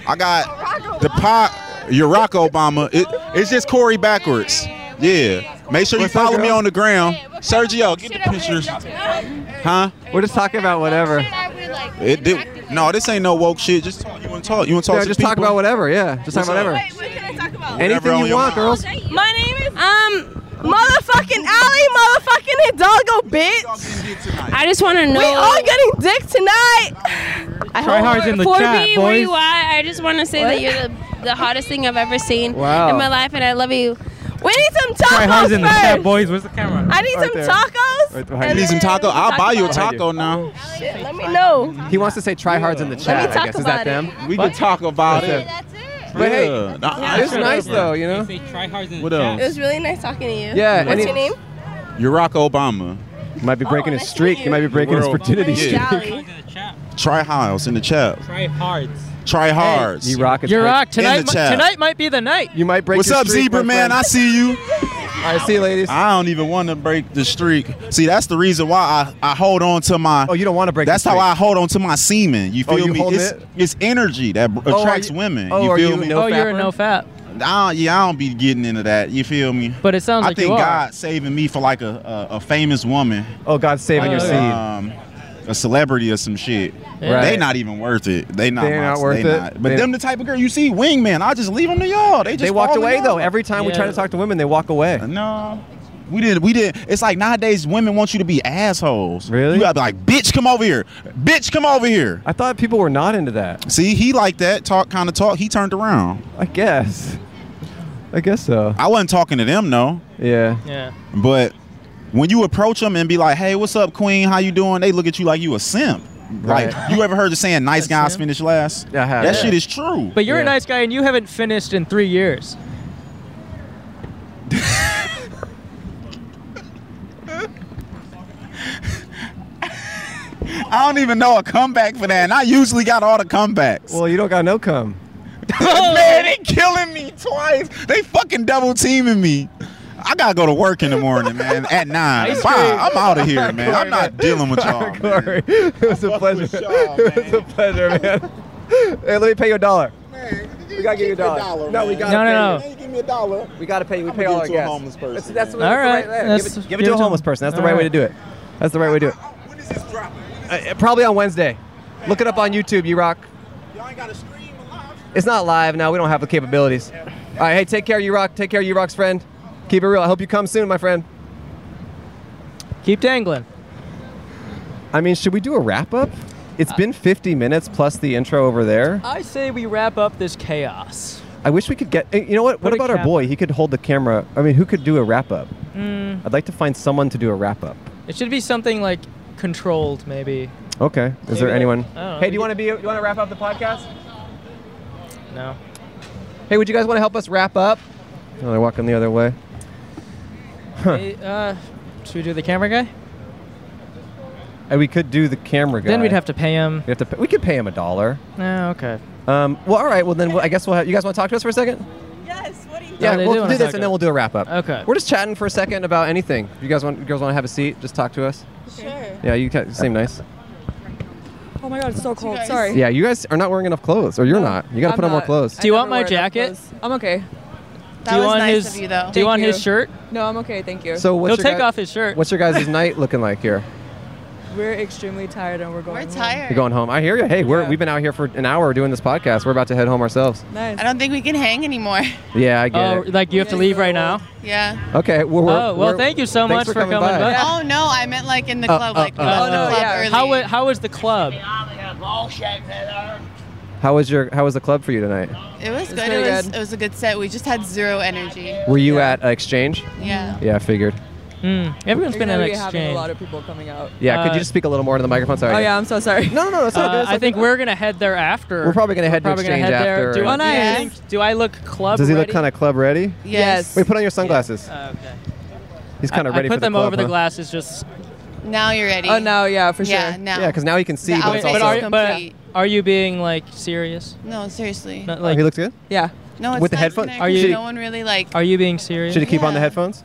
Speaker 20: I got the pot Barack Obama. It, it's just Corey backwards. Yeah. Make sure you
Speaker 2: What's up,
Speaker 20: follow me
Speaker 2: girl?
Speaker 20: on the gram. Sergio, get the pictures. Huh?
Speaker 2: We're just talking about whatever.
Speaker 20: It did, no, this ain't no woke shit. Just talk. You want to talk? You want to talk
Speaker 2: Yeah,
Speaker 20: to
Speaker 2: just talk
Speaker 20: people?
Speaker 2: about whatever. Yeah, just talk
Speaker 20: What's
Speaker 2: about
Speaker 20: up?
Speaker 2: whatever.
Speaker 16: What can I talk about?
Speaker 20: Whatever
Speaker 2: Anything
Speaker 20: on
Speaker 2: you
Speaker 20: your
Speaker 2: want, girls.
Speaker 16: My name is um motherfucking Allie motherfucking Hidalgo bitch.
Speaker 21: I just wanna know-
Speaker 16: We all getting dick tonight. I
Speaker 21: Try hard's in the
Speaker 16: For
Speaker 21: chat,
Speaker 16: me,
Speaker 21: boy.
Speaker 16: we-
Speaker 21: Where you at? I just want to say
Speaker 16: What?
Speaker 21: that you're the, the hottest thing I've ever seen
Speaker 16: Wow.
Speaker 21: in my life, and I love you.
Speaker 16: We need some
Speaker 21: Try
Speaker 16: tacos
Speaker 21: hard's in the chat,
Speaker 16: first.
Speaker 21: boy.
Speaker 15: Boys, where's the camera?
Speaker 16: I need
Speaker 2: Right
Speaker 16: some
Speaker 2: there.
Speaker 16: tacos.
Speaker 2: Right
Speaker 16: and
Speaker 2: behind you.
Speaker 16: then
Speaker 20: Taco. I'll buy you a
Speaker 2: Behind you.
Speaker 20: taco now.
Speaker 16: Shit, let me know.
Speaker 2: He wants to say tryhards in the chat. I
Speaker 16: talk
Speaker 2: guess is that
Speaker 16: about it.
Speaker 2: them?
Speaker 20: We can talk about it.
Speaker 2: That's it. But hey,
Speaker 20: Yeah. Nah,
Speaker 2: it's
Speaker 20: shut
Speaker 2: nice
Speaker 20: up.
Speaker 2: though, you know.
Speaker 20: What else?
Speaker 16: It was really nice talking to you.
Speaker 2: Yeah,
Speaker 16: What's
Speaker 2: any-
Speaker 16: your name?
Speaker 20: Barack Obama.
Speaker 2: Might be breaking his streak. He might be breaking his
Speaker 20: World.
Speaker 2: virginity
Speaker 20: Yeah.
Speaker 2: streak.
Speaker 20: Try house in the chat.
Speaker 12: Try hards.
Speaker 20: Try hards.
Speaker 2: you rock
Speaker 1: You rock tonight.
Speaker 20: In
Speaker 1: mi-
Speaker 20: the chat.
Speaker 1: Tonight might be the night.
Speaker 2: You might
Speaker 20: What's up, Zebra Man? I see you.
Speaker 2: I see you, ladies.
Speaker 20: I don't even want to break the streak. See, that's the reason why I, I hold on to my. Oh,
Speaker 2: you don't want to break.
Speaker 20: That's
Speaker 2: the
Speaker 20: how
Speaker 2: streak.
Speaker 20: I hold on to my semen. You
Speaker 2: Oh,
Speaker 20: feel
Speaker 2: you
Speaker 20: me?
Speaker 2: hold
Speaker 20: It's,
Speaker 2: it?
Speaker 20: it's energy that b-
Speaker 1: Oh, are
Speaker 20: attracts
Speaker 1: you-
Speaker 20: women.
Speaker 1: oh,
Speaker 20: you
Speaker 1: are
Speaker 20: feel
Speaker 1: you
Speaker 20: me?
Speaker 1: no Oh, you're a fapper? no fap.
Speaker 20: I don't, yeah, I don't be getting into that. You feel me?
Speaker 1: But it sounds
Speaker 20: I
Speaker 1: like
Speaker 20: think
Speaker 1: you are.
Speaker 20: God saving me for like a, a, a famous woman.
Speaker 2: Oh, God's saving
Speaker 1: your seed.
Speaker 20: Um, a celebrity or some shit.
Speaker 2: Yeah. Right.
Speaker 20: They not even worth it. They not.
Speaker 2: They're
Speaker 20: my-
Speaker 2: not worth
Speaker 20: they
Speaker 2: it.
Speaker 20: Not. But
Speaker 2: They-
Speaker 20: them the type of girl you see, wingman. I just leave them to y'all. They just
Speaker 2: They walked
Speaker 20: fall in
Speaker 2: away
Speaker 20: love.
Speaker 2: though. Every time we try to talk to women, they walk away.
Speaker 20: No. We did. We did. It's like nowadays, women want you to be assholes. Really? You gotta be like, bitch, come over here. Bitch, come over here.
Speaker 2: I thought people were not into that.
Speaker 20: See, he like that talk kind of talk. He turned around.
Speaker 2: I guess. I guess so.
Speaker 20: I wasn't talking to them, no.
Speaker 2: Yeah.
Speaker 1: Yeah.
Speaker 20: But when you approach them and be like, "Hey, what's up, queen? How you doing?" They look at you like you a simp.
Speaker 1: Right.
Speaker 20: Like you ever heard the saying, "Nice guys finish last."
Speaker 2: Yeah, I have.
Speaker 20: That
Speaker 1: Yeah.
Speaker 20: shit is true.
Speaker 1: But you're a nice guy, and you haven't finished in three years.
Speaker 20: I don't even know a comeback for that, and I usually got all the comebacks.
Speaker 2: Well, you don't got no cum.
Speaker 20: [laughs] Man, they killing me twice. They fucking double teaming me. I gotta go to work in the morning, man.
Speaker 2: [laughs]
Speaker 20: At nine,
Speaker 2: Ice
Speaker 20: Bye.
Speaker 2: cream.
Speaker 20: I'm out of
Speaker 2: [laughs]
Speaker 20: here, man. I'm not dealing with y'all. man.
Speaker 2: Corey, it was a pleasure. [laughs] it was a pleasure, man. hey, let me pay you a dollar. We gotta give [laughs] you a dollar. no, we gotta
Speaker 1: No,
Speaker 2: pay
Speaker 1: no,
Speaker 2: you.
Speaker 1: no.
Speaker 20: Give me a dollar.
Speaker 2: We gotta pay. We
Speaker 20: I'ma
Speaker 2: pay
Speaker 20: give
Speaker 2: all
Speaker 20: it
Speaker 2: our
Speaker 20: to a
Speaker 2: guests.
Speaker 20: homeless person,
Speaker 2: That's, that's
Speaker 1: man.
Speaker 2: what- that's
Speaker 1: All
Speaker 2: the
Speaker 1: right,
Speaker 2: right. way. Give,
Speaker 1: that's-
Speaker 2: it, give it to a homeless person. That's the
Speaker 1: All
Speaker 2: right, way to
Speaker 1: right.
Speaker 2: do it. That's the right way to do it. Uh, uh, probably on Wednesday. Look it up on YouTube. You rock. It's not live now. We don't have the capabilities. All right. Hey, take care. You rock. Take care. You rock's friend. Keep it real. I hope you come soon, my friend.
Speaker 1: Keep dangling.
Speaker 2: I mean, should we do a wrap up? It's been 50 minutes plus the intro over there.
Speaker 1: I say we wrap up this chaos.
Speaker 2: I wish we could get. eh, You know what? What
Speaker 1: Put a
Speaker 2: about our
Speaker 1: cap-
Speaker 2: boy? He could hold the camera. I mean, who could do a wrap up?
Speaker 1: Mm,
Speaker 2: I'd like to find someone to do a wrap up.
Speaker 1: it should be something like controlled, maybe.
Speaker 2: Okay. Is
Speaker 1: Maybe
Speaker 2: there
Speaker 1: like-
Speaker 2: anyone?
Speaker 1: I don't know.
Speaker 2: Hey, do you want to be? You want to wrap up the podcast?
Speaker 1: No.
Speaker 2: Hey, would you guys want to help us wrap up? Oh, they're walking the other way. Huh.
Speaker 1: Hey, uh, should we do the camera guy?
Speaker 2: Hey, we could do the camera guy.
Speaker 1: Then we'd have to pay him.
Speaker 2: We have to. Pay, we could pay him a dollar.
Speaker 1: No, okay.
Speaker 2: Um, well, all right. Well, then we'll, I guess we'll. Have, you guys want to talk to us for a second?
Speaker 16: Yes, what do you
Speaker 2: Yeah,
Speaker 1: they do
Speaker 2: we'll
Speaker 1: wanna
Speaker 2: do this
Speaker 1: talk
Speaker 2: and
Speaker 1: to
Speaker 2: then
Speaker 1: us.
Speaker 2: we'll do a wrap up.
Speaker 1: Okay.
Speaker 2: We're just chatting for a second about anything. If you guys want, you girls want to have a seat? Just talk to us.
Speaker 16: Sure.
Speaker 2: Yeah, you ca- seem nice.
Speaker 16: Oh my god, it's so cold. Sorry.
Speaker 2: Yeah, you guys are not wearing enough clothes, or you're not. You got to
Speaker 16: I'm
Speaker 2: put on more
Speaker 16: not.
Speaker 2: clothes.
Speaker 1: Do you want my
Speaker 16: Never wear enough
Speaker 1: jacket?
Speaker 16: clothes. I'm okay.
Speaker 1: That you was want nice his- of you, though. do you want his shirt?
Speaker 16: No, I'm okay. Thank you.
Speaker 2: So what's
Speaker 1: He'll
Speaker 2: your
Speaker 1: take
Speaker 2: guy-
Speaker 1: off his shirt.
Speaker 2: What's
Speaker 16: [laughs]
Speaker 2: your guys' night looking like here?
Speaker 16: We're extremely tired and we're going. We're tired.
Speaker 2: You're going home. I hear you. Hey, we're, we've been out here for an hour doing this podcast. We're about to head home ourselves.
Speaker 18: I don't think we can hang anymore. [laughs]
Speaker 2: Yeah, I get
Speaker 1: Oh,
Speaker 2: it.
Speaker 1: like you have to leave right now?
Speaker 18: Yeah.
Speaker 2: Okay. Well, we're,
Speaker 1: Oh, well,
Speaker 2: we're-
Speaker 1: thank you so
Speaker 2: thanks
Speaker 1: much for coming
Speaker 2: by.
Speaker 1: back.
Speaker 18: Oh no, I meant like in the
Speaker 2: Uh,
Speaker 18: club,
Speaker 2: uh,
Speaker 18: like
Speaker 2: uh,
Speaker 18: left the
Speaker 2: Oh, no,
Speaker 18: club
Speaker 2: yeah.
Speaker 18: early.
Speaker 1: How was, how was the club?
Speaker 2: Hmm. How was your How was the club for you tonight?
Speaker 18: It was good.
Speaker 16: pretty
Speaker 18: It was,
Speaker 16: good.
Speaker 18: it was a good set. We just had zero energy.
Speaker 2: Were you at uh, Exchange?
Speaker 18: Yeah.
Speaker 2: Yeah, I figured.
Speaker 1: Mm, everyone's
Speaker 16: You're
Speaker 1: been at
Speaker 16: gonna
Speaker 1: an
Speaker 16: be having a
Speaker 1: exchange.
Speaker 16: lot of people coming out.
Speaker 2: Yeah. could
Speaker 1: Uh,
Speaker 2: you just speak a little more into the microphone? Sorry.
Speaker 16: Oh yeah, I'm so sorry.
Speaker 2: No, no, no. It's all good.
Speaker 1: Uh,
Speaker 2: It's
Speaker 1: I
Speaker 2: all
Speaker 1: think
Speaker 2: good.
Speaker 1: we're gonna head there after.
Speaker 2: We're probably gonna head to
Speaker 1: Probably gonna
Speaker 2: Exchange
Speaker 1: head
Speaker 2: after,
Speaker 1: There. Do
Speaker 2: right?
Speaker 1: I
Speaker 16: Yes.
Speaker 1: think- do I look club?
Speaker 2: Does he
Speaker 1: ready?
Speaker 2: look kind of club ready?
Speaker 18: Yes.
Speaker 2: Wait, put on your sunglasses.
Speaker 1: Uh, okay.
Speaker 2: He's kind of
Speaker 1: I- I
Speaker 2: ready
Speaker 1: put
Speaker 2: for the
Speaker 1: them
Speaker 2: club,
Speaker 1: over the
Speaker 2: huh?
Speaker 1: glasses just.
Speaker 18: Now you're ready.
Speaker 16: Oh no, yeah, for
Speaker 18: Yeah.
Speaker 16: sure.
Speaker 18: Now.
Speaker 2: Yeah, because now he can see.
Speaker 18: The
Speaker 2: but
Speaker 18: outfit
Speaker 2: it's
Speaker 1: But
Speaker 2: also,
Speaker 18: is
Speaker 1: are, but
Speaker 18: complete.
Speaker 1: are you being like serious?
Speaker 18: No, seriously.
Speaker 1: Not
Speaker 2: Oh,
Speaker 1: like
Speaker 2: he looks good.
Speaker 16: Yeah.
Speaker 18: No, it's
Speaker 2: With the
Speaker 18: nice in
Speaker 2: headphone-
Speaker 18: there
Speaker 1: Are
Speaker 18: 'cause
Speaker 1: you-
Speaker 18: No one really like.
Speaker 1: Are you being serious?
Speaker 2: Should he keep on the
Speaker 18: Yeah.
Speaker 2: headphones?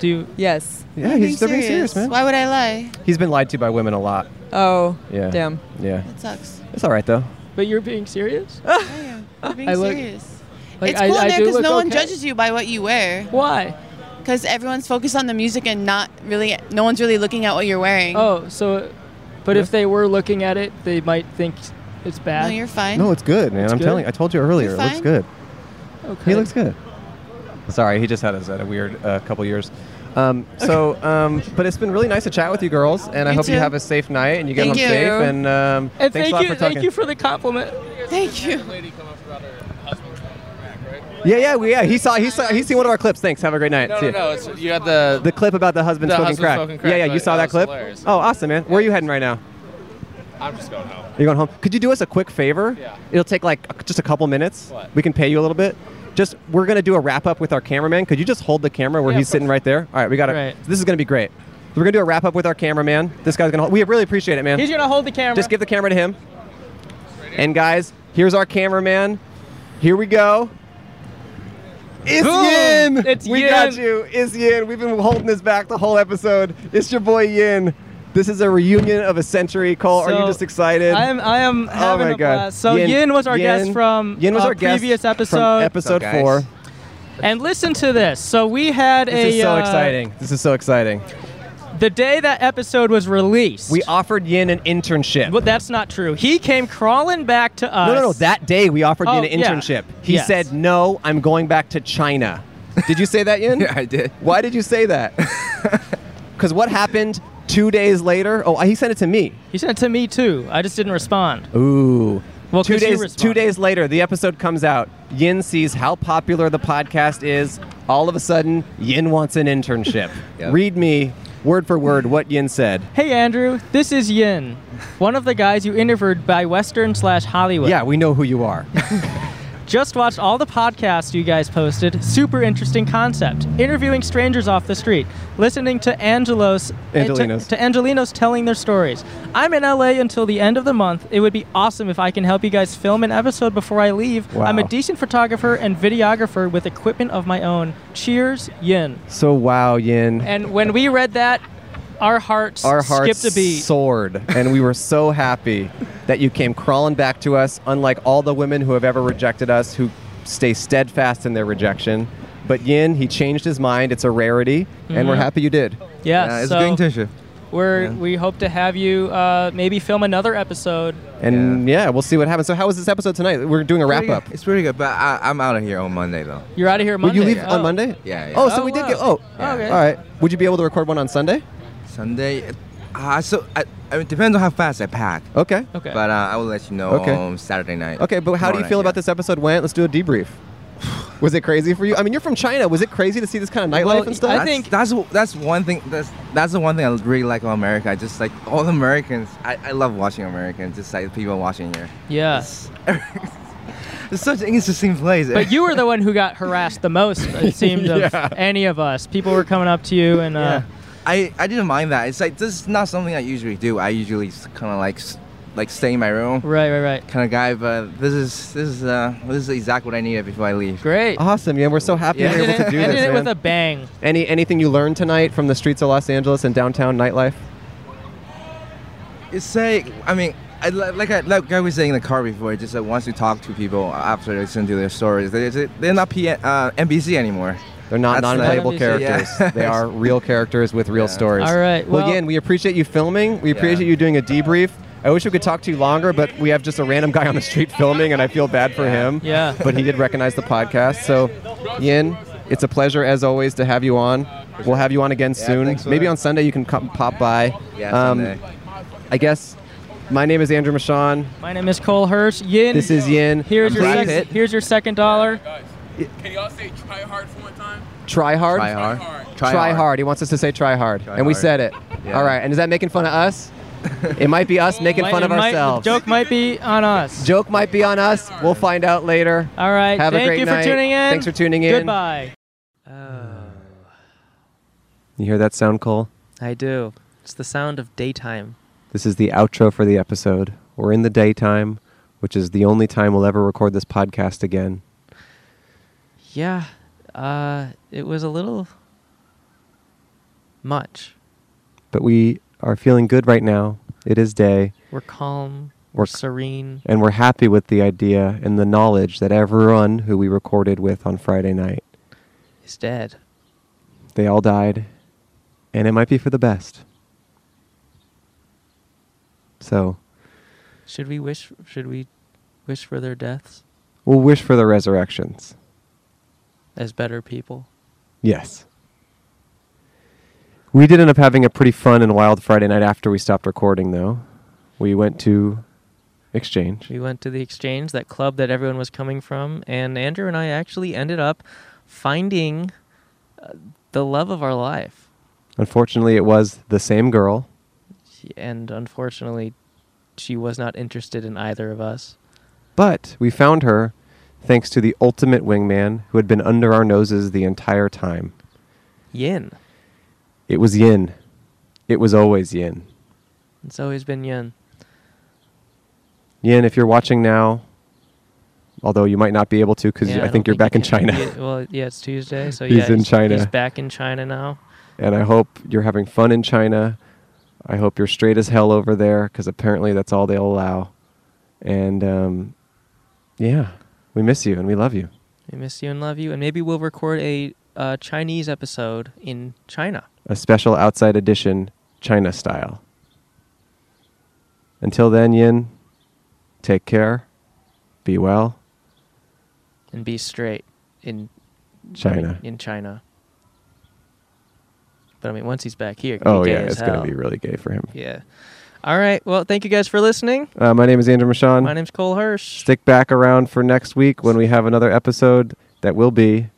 Speaker 1: Do you,
Speaker 16: Yes.
Speaker 2: Yeah, he's they're being serious, man.
Speaker 18: Why would I lie?
Speaker 2: He's been lied to by women a lot.
Speaker 16: Oh.
Speaker 2: Yeah.
Speaker 16: Damn.
Speaker 2: Yeah.
Speaker 18: It sucks.
Speaker 2: It's all right though.
Speaker 1: but you're being
Speaker 18: [laughs]
Speaker 1: serious?
Speaker 18: You're being
Speaker 1: I look-
Speaker 18: serious.
Speaker 1: Like,
Speaker 18: it's
Speaker 1: I-
Speaker 18: cool
Speaker 1: I
Speaker 18: in there
Speaker 1: do
Speaker 18: because
Speaker 1: look
Speaker 18: no one
Speaker 1: okay.
Speaker 18: judges you by what you wear.
Speaker 1: Why?
Speaker 18: Because everyone's focused on the music and not really, no one's really looking at what you're wearing.
Speaker 1: Oh, so, but if they were looking at it, they might think it's
Speaker 18: no,
Speaker 1: bad.
Speaker 18: you're fine.
Speaker 2: No, it's good, man.
Speaker 1: It's
Speaker 2: I'm
Speaker 1: good?
Speaker 2: telling. I told you earlier. It
Speaker 18: You're
Speaker 2: looks
Speaker 18: fine.
Speaker 2: good.
Speaker 1: okay.
Speaker 2: He looks good. Sorry, he just had us at a weird uh, couple years. Um, so, um, but it's been really nice to chat with you girls, and I
Speaker 18: You
Speaker 2: hope you
Speaker 18: too.
Speaker 2: have a safe night and you get
Speaker 18: Thank
Speaker 2: home
Speaker 18: you.
Speaker 2: safe. And, um,
Speaker 1: And
Speaker 2: thanks a
Speaker 1: thank
Speaker 2: lot
Speaker 1: you,
Speaker 2: for talking.
Speaker 1: thank you for the compliment.
Speaker 18: Thank you.
Speaker 2: yeah, yeah, we, yeah. He saw, he saw, he seen one of our clips. Thanks. Have a great night.
Speaker 4: No,
Speaker 2: See
Speaker 4: no,
Speaker 2: ya.
Speaker 4: no. It's, you had the.
Speaker 2: The clip about the husband,
Speaker 4: The
Speaker 2: smoking,
Speaker 4: husband
Speaker 2: crack.
Speaker 4: smoking crack,
Speaker 2: Yeah, yeah. You
Speaker 4: right.
Speaker 2: saw
Speaker 4: That
Speaker 2: that,
Speaker 4: was
Speaker 2: clip.
Speaker 4: hilarious.
Speaker 2: Oh, awesome, man. Where are you heading right now?
Speaker 4: I'm just going home.
Speaker 2: You're going home. Could you do us a quick favor?
Speaker 4: Yeah.
Speaker 2: It'll take like a- just a couple minutes.
Speaker 4: What?
Speaker 2: We can pay you a little bit. Just we're gonna do a wrap up with our cameraman. Could you just hold the camera where
Speaker 1: Yeah,
Speaker 2: he's
Speaker 1: of
Speaker 2: sitting
Speaker 1: course.
Speaker 2: right there? All right, we got it.
Speaker 1: Right.
Speaker 2: This is gonna be great. We're gonna do a wrap up with our cameraman. This guy's gonna. Hold, we really appreciate it, man.
Speaker 1: He's gonna hold the camera.
Speaker 2: just give the camera to him. And guys, Here's our cameraman. Here we go. It's
Speaker 6: Boom!
Speaker 2: Yin.
Speaker 6: It's
Speaker 2: we got
Speaker 6: Yin.
Speaker 2: you. It's Yin. We've been holding this back the whole episode. It's your boy Yin. This is a reunion of a century. Cole, are you
Speaker 1: So,
Speaker 2: just excited?
Speaker 1: I am. I am having
Speaker 2: oh my
Speaker 1: a
Speaker 2: God.
Speaker 1: blast. So Yin, was our guest from
Speaker 2: Yin was
Speaker 1: uh,
Speaker 2: our guest
Speaker 1: previous
Speaker 2: from
Speaker 1: episode,
Speaker 2: episode four.
Speaker 1: And listen to this. So we had a.
Speaker 2: This is so
Speaker 1: uh,
Speaker 2: exciting. This is so exciting.
Speaker 1: The day that episode was released,
Speaker 2: We offered Yin an internship.
Speaker 1: Well, that's not true. He came crawling back to us.
Speaker 2: No, no, no. That day we offered
Speaker 1: Oh,
Speaker 2: Yin an
Speaker 1: yeah.
Speaker 2: internship. He
Speaker 1: Yes.
Speaker 2: said, "No, I'm going back to China." Did you say
Speaker 1: [laughs]
Speaker 2: that, Yin? yeah, I did. Why did you say that? Because what happened two days later? Oh, he sent it to me.
Speaker 1: He sent it to me too. I just didn't respond.
Speaker 2: Ooh.
Speaker 1: Well,
Speaker 2: two
Speaker 1: 'cause you
Speaker 2: days. Two days later, the episode comes out. Yin sees how popular the podcast is. All of a sudden, Yin wants
Speaker 1: [laughs]
Speaker 2: an internship. Read me word for word what Yin said.
Speaker 1: Hey, Andrew. This is Yin, one of the guys you interviewed by Western slash Hollywood.
Speaker 2: Yeah, we know who you are.
Speaker 1: [laughs] Just watched all the podcasts you guys posted. Super interesting concept. Interviewing strangers off the street. Listening to Angelos eh, to-
Speaker 2: Angelinos.
Speaker 1: to, Angelinos telling their stories. I'm in LA until the end of the month. It would be awesome if I can help you guys film an episode before I leave.
Speaker 2: Wow.
Speaker 1: I'm a decent photographer and videographer with equipment of my own. Cheers, Yin.
Speaker 2: So wow, Yin.
Speaker 1: And when we read that, our hearts,
Speaker 2: our hearts
Speaker 1: skipped a beat.
Speaker 2: soared, and we were so happy that you came crawling back to us. Unlike all the women who have ever rejected us, who stay steadfast in their rejection, but Yin, he changed his mind. It's a rarity, and we're
Speaker 1: Mhm.
Speaker 2: happy you did.
Speaker 1: Yeah, Yeah, it's a so- game tissue. We're, We hope to have you uh, maybe film another episode.
Speaker 2: And yeah. we'll see what happens. So, how was this episode tonight? We're doing a wrap up.
Speaker 7: It's pretty good, but I, I'm out of here on Monday though.
Speaker 1: You're out of here
Speaker 2: Will
Speaker 1: Monday.
Speaker 2: you leave on
Speaker 1: Oh.
Speaker 2: Monday?
Speaker 7: Yeah, yeah.
Speaker 2: Oh, so we did get. Oh,
Speaker 1: Okay.
Speaker 2: all right. Would you be able to record one on Sunday?
Speaker 7: Sunday. Uh, so I, I mean, it depends on how fast I pack.
Speaker 2: Okay.
Speaker 1: Okay.
Speaker 7: But uh, I will let you know
Speaker 2: Okay.
Speaker 7: on Saturday night.
Speaker 2: Okay, but how do you feel about this episode went? Let's do
Speaker 7: [sighs]
Speaker 2: a debrief. Was it crazy for you? I mean, you're from China. Was it crazy to see this kind of nightlife and stuff?
Speaker 7: that's, that's that's one thing. That's that's the one thing I really like about America. I just like all Americans. I, I love watching Americans. Just like the people watching here.
Speaker 2: [laughs]
Speaker 1: Yes.
Speaker 7: It's such an interesting place.
Speaker 1: But you were the one who got harassed the most,
Speaker 2: [laughs]
Speaker 1: it seemed,
Speaker 7: Yeah.
Speaker 1: of any of us. People were coming up to you and. Uh,
Speaker 7: Yeah. I, I didn't mind that. It's like this is not something I usually do. I usually kind of like s- like stay in my room.
Speaker 1: Right, right, right.
Speaker 7: Kind of guy, but this is this is uh this is exactly what I needed before I leave.
Speaker 1: Great.
Speaker 2: [laughs] Awesome, yeah. We're so happy
Speaker 7: Yeah.
Speaker 2: you're
Speaker 7: [laughs]
Speaker 2: able to
Speaker 7: Ended
Speaker 2: do
Speaker 7: it-
Speaker 2: this.
Speaker 7: ended it
Speaker 2: man.
Speaker 7: with
Speaker 1: a bang.
Speaker 2: Any anything you learned tonight from the streets of Los Angeles and downtown nightlife?
Speaker 7: It's like I mean, I, li- like I like I was saying in the car before. It's Just like once you talk to people after they listen to their stories, they they're not P- uh, NBC anymore.
Speaker 2: They're not
Speaker 7: That's the-
Speaker 2: non-playable characters.
Speaker 7: Yeah. [laughs]
Speaker 2: they are real characters with real stories.
Speaker 7: All right,
Speaker 2: Well,
Speaker 7: well-
Speaker 2: again, we appreciate you filming. We appreciate you doing a debrief. I wish we could talk to you longer, but we have just a random guy on the street [laughs] filming, and I feel bad for him.
Speaker 1: Yeah.
Speaker 2: But he did recognize the podcast. So, Yin, it's a pleasure as always to have you on. We'll have you on again
Speaker 7: Yeah,
Speaker 2: soon.
Speaker 7: thanks for
Speaker 2: Maybe
Speaker 7: that.
Speaker 2: on Sunday you can come pop by. Um,
Speaker 7: Yeah, Sunday.
Speaker 2: I guess. My name is Andrew Michon.
Speaker 1: My name is Cole Hirsch. Yin.
Speaker 2: This is Yin.
Speaker 1: Here's
Speaker 2: I'm
Speaker 1: your
Speaker 2: Brad
Speaker 1: sec-
Speaker 2: Pitt.
Speaker 1: here's your second dollar.
Speaker 22: Can y'all say try hard for one time?
Speaker 2: Try hard.
Speaker 7: Try hard. Try
Speaker 2: Try, hard.
Speaker 7: hard.
Speaker 2: He wants us to say try hard,
Speaker 7: Try
Speaker 2: and we
Speaker 7: hard.
Speaker 2: said it.
Speaker 7: Yeah.
Speaker 2: All right. And is that making fun of [laughs] us? it might be us making
Speaker 1: Might-
Speaker 2: fun of
Speaker 1: it might- the
Speaker 2: ourselves.
Speaker 1: joke might be on us.
Speaker 2: Joke might be on us. We'll find out later.
Speaker 1: All right.
Speaker 2: Have
Speaker 1: Thank
Speaker 2: a great
Speaker 1: you
Speaker 2: night.
Speaker 1: for tuning in.
Speaker 2: Thanks for tuning in.
Speaker 1: Goodbye.
Speaker 2: You hear that sound, Cole?
Speaker 1: I do. It's the sound of daytime.
Speaker 2: This is the outro for the episode. We're in the daytime, which is the only time we'll ever record this podcast again.
Speaker 1: Yeah. Uh, it was a little much.
Speaker 2: But we are feeling good right now. It is day.
Speaker 1: We're calm.
Speaker 2: We're
Speaker 1: We're
Speaker 2: c-
Speaker 1: serene.
Speaker 2: And we're happy with the idea and the knowledge that everyone who we recorded with on Friday night,
Speaker 1: It's dead.
Speaker 2: they all died. And it might be for the best. So
Speaker 1: Should we wish? Should we wish for their deaths
Speaker 2: we'll wish for the resurrections.
Speaker 1: as better people?
Speaker 2: Yes. We did end up having a pretty fun and wild Friday night after we stopped recording, though. We went to Exchange.
Speaker 1: We went to the exchange, that club that everyone was coming from, and Andrew and I actually ended up finding uh, the love of our life.
Speaker 2: Unfortunately, it was the same girl.
Speaker 1: And unfortunately, she was not interested in either of us.
Speaker 2: But we found her thanks to the ultimate wingman who had been under our noses the entire time.
Speaker 1: Yin.
Speaker 2: It was Yin. It was always Yin.
Speaker 1: It's always been Yin.
Speaker 2: Yin, if you're watching now, although you might not be able to because
Speaker 1: Yeah,
Speaker 2: I,
Speaker 1: I
Speaker 2: think you're
Speaker 1: don't
Speaker 2: back in
Speaker 1: think he
Speaker 2: China.
Speaker 1: can be- well, yeah, it's Tuesday, so
Speaker 2: He's
Speaker 1: yeah,
Speaker 2: in China.
Speaker 1: He's back in China now.
Speaker 2: and I hope you're having fun in China. I hope you're straight as hell over there because apparently that's all they'll allow. And um, yeah, we miss you and we love you.
Speaker 1: We miss you and love you, and maybe we'll record a uh, Chinese episode in China.
Speaker 2: A special outside edition, China style. Until then, Yin, take care, be well.
Speaker 1: and be straight in
Speaker 2: China.
Speaker 1: I mean, in China. But I mean, once he's back here, it could
Speaker 2: Oh,
Speaker 1: be gay
Speaker 2: yeah,
Speaker 1: as
Speaker 2: it's going
Speaker 1: hell.
Speaker 2: to be really gay for him.
Speaker 1: Yeah. All right. Well, thank you guys for listening.
Speaker 2: Uh, my name is Andrew Michon.
Speaker 1: My name's Cole Hirsch.
Speaker 2: Stick back around for next week when we have another episode that will be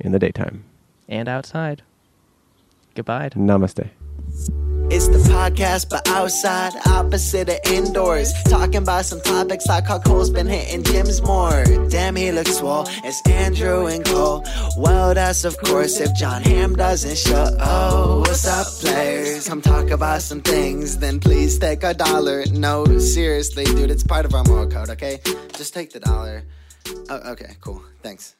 Speaker 2: in the daytime.
Speaker 1: And outside. Goodbye.
Speaker 2: Namaste.
Speaker 4: It's the podcast, but outside, opposite of indoors. Talking about some topics like how Cole's been hitting gyms more. Damn, he looks swole. It's Andrew and Cole. Well, that's of course if John Ham doesn't show. Oh, what's up, players? Come talk about some things, then please take a dollar. No, seriously, dude, it's part of our moral code, okay? Just take the dollar. Oh, okay, cool. Thanks.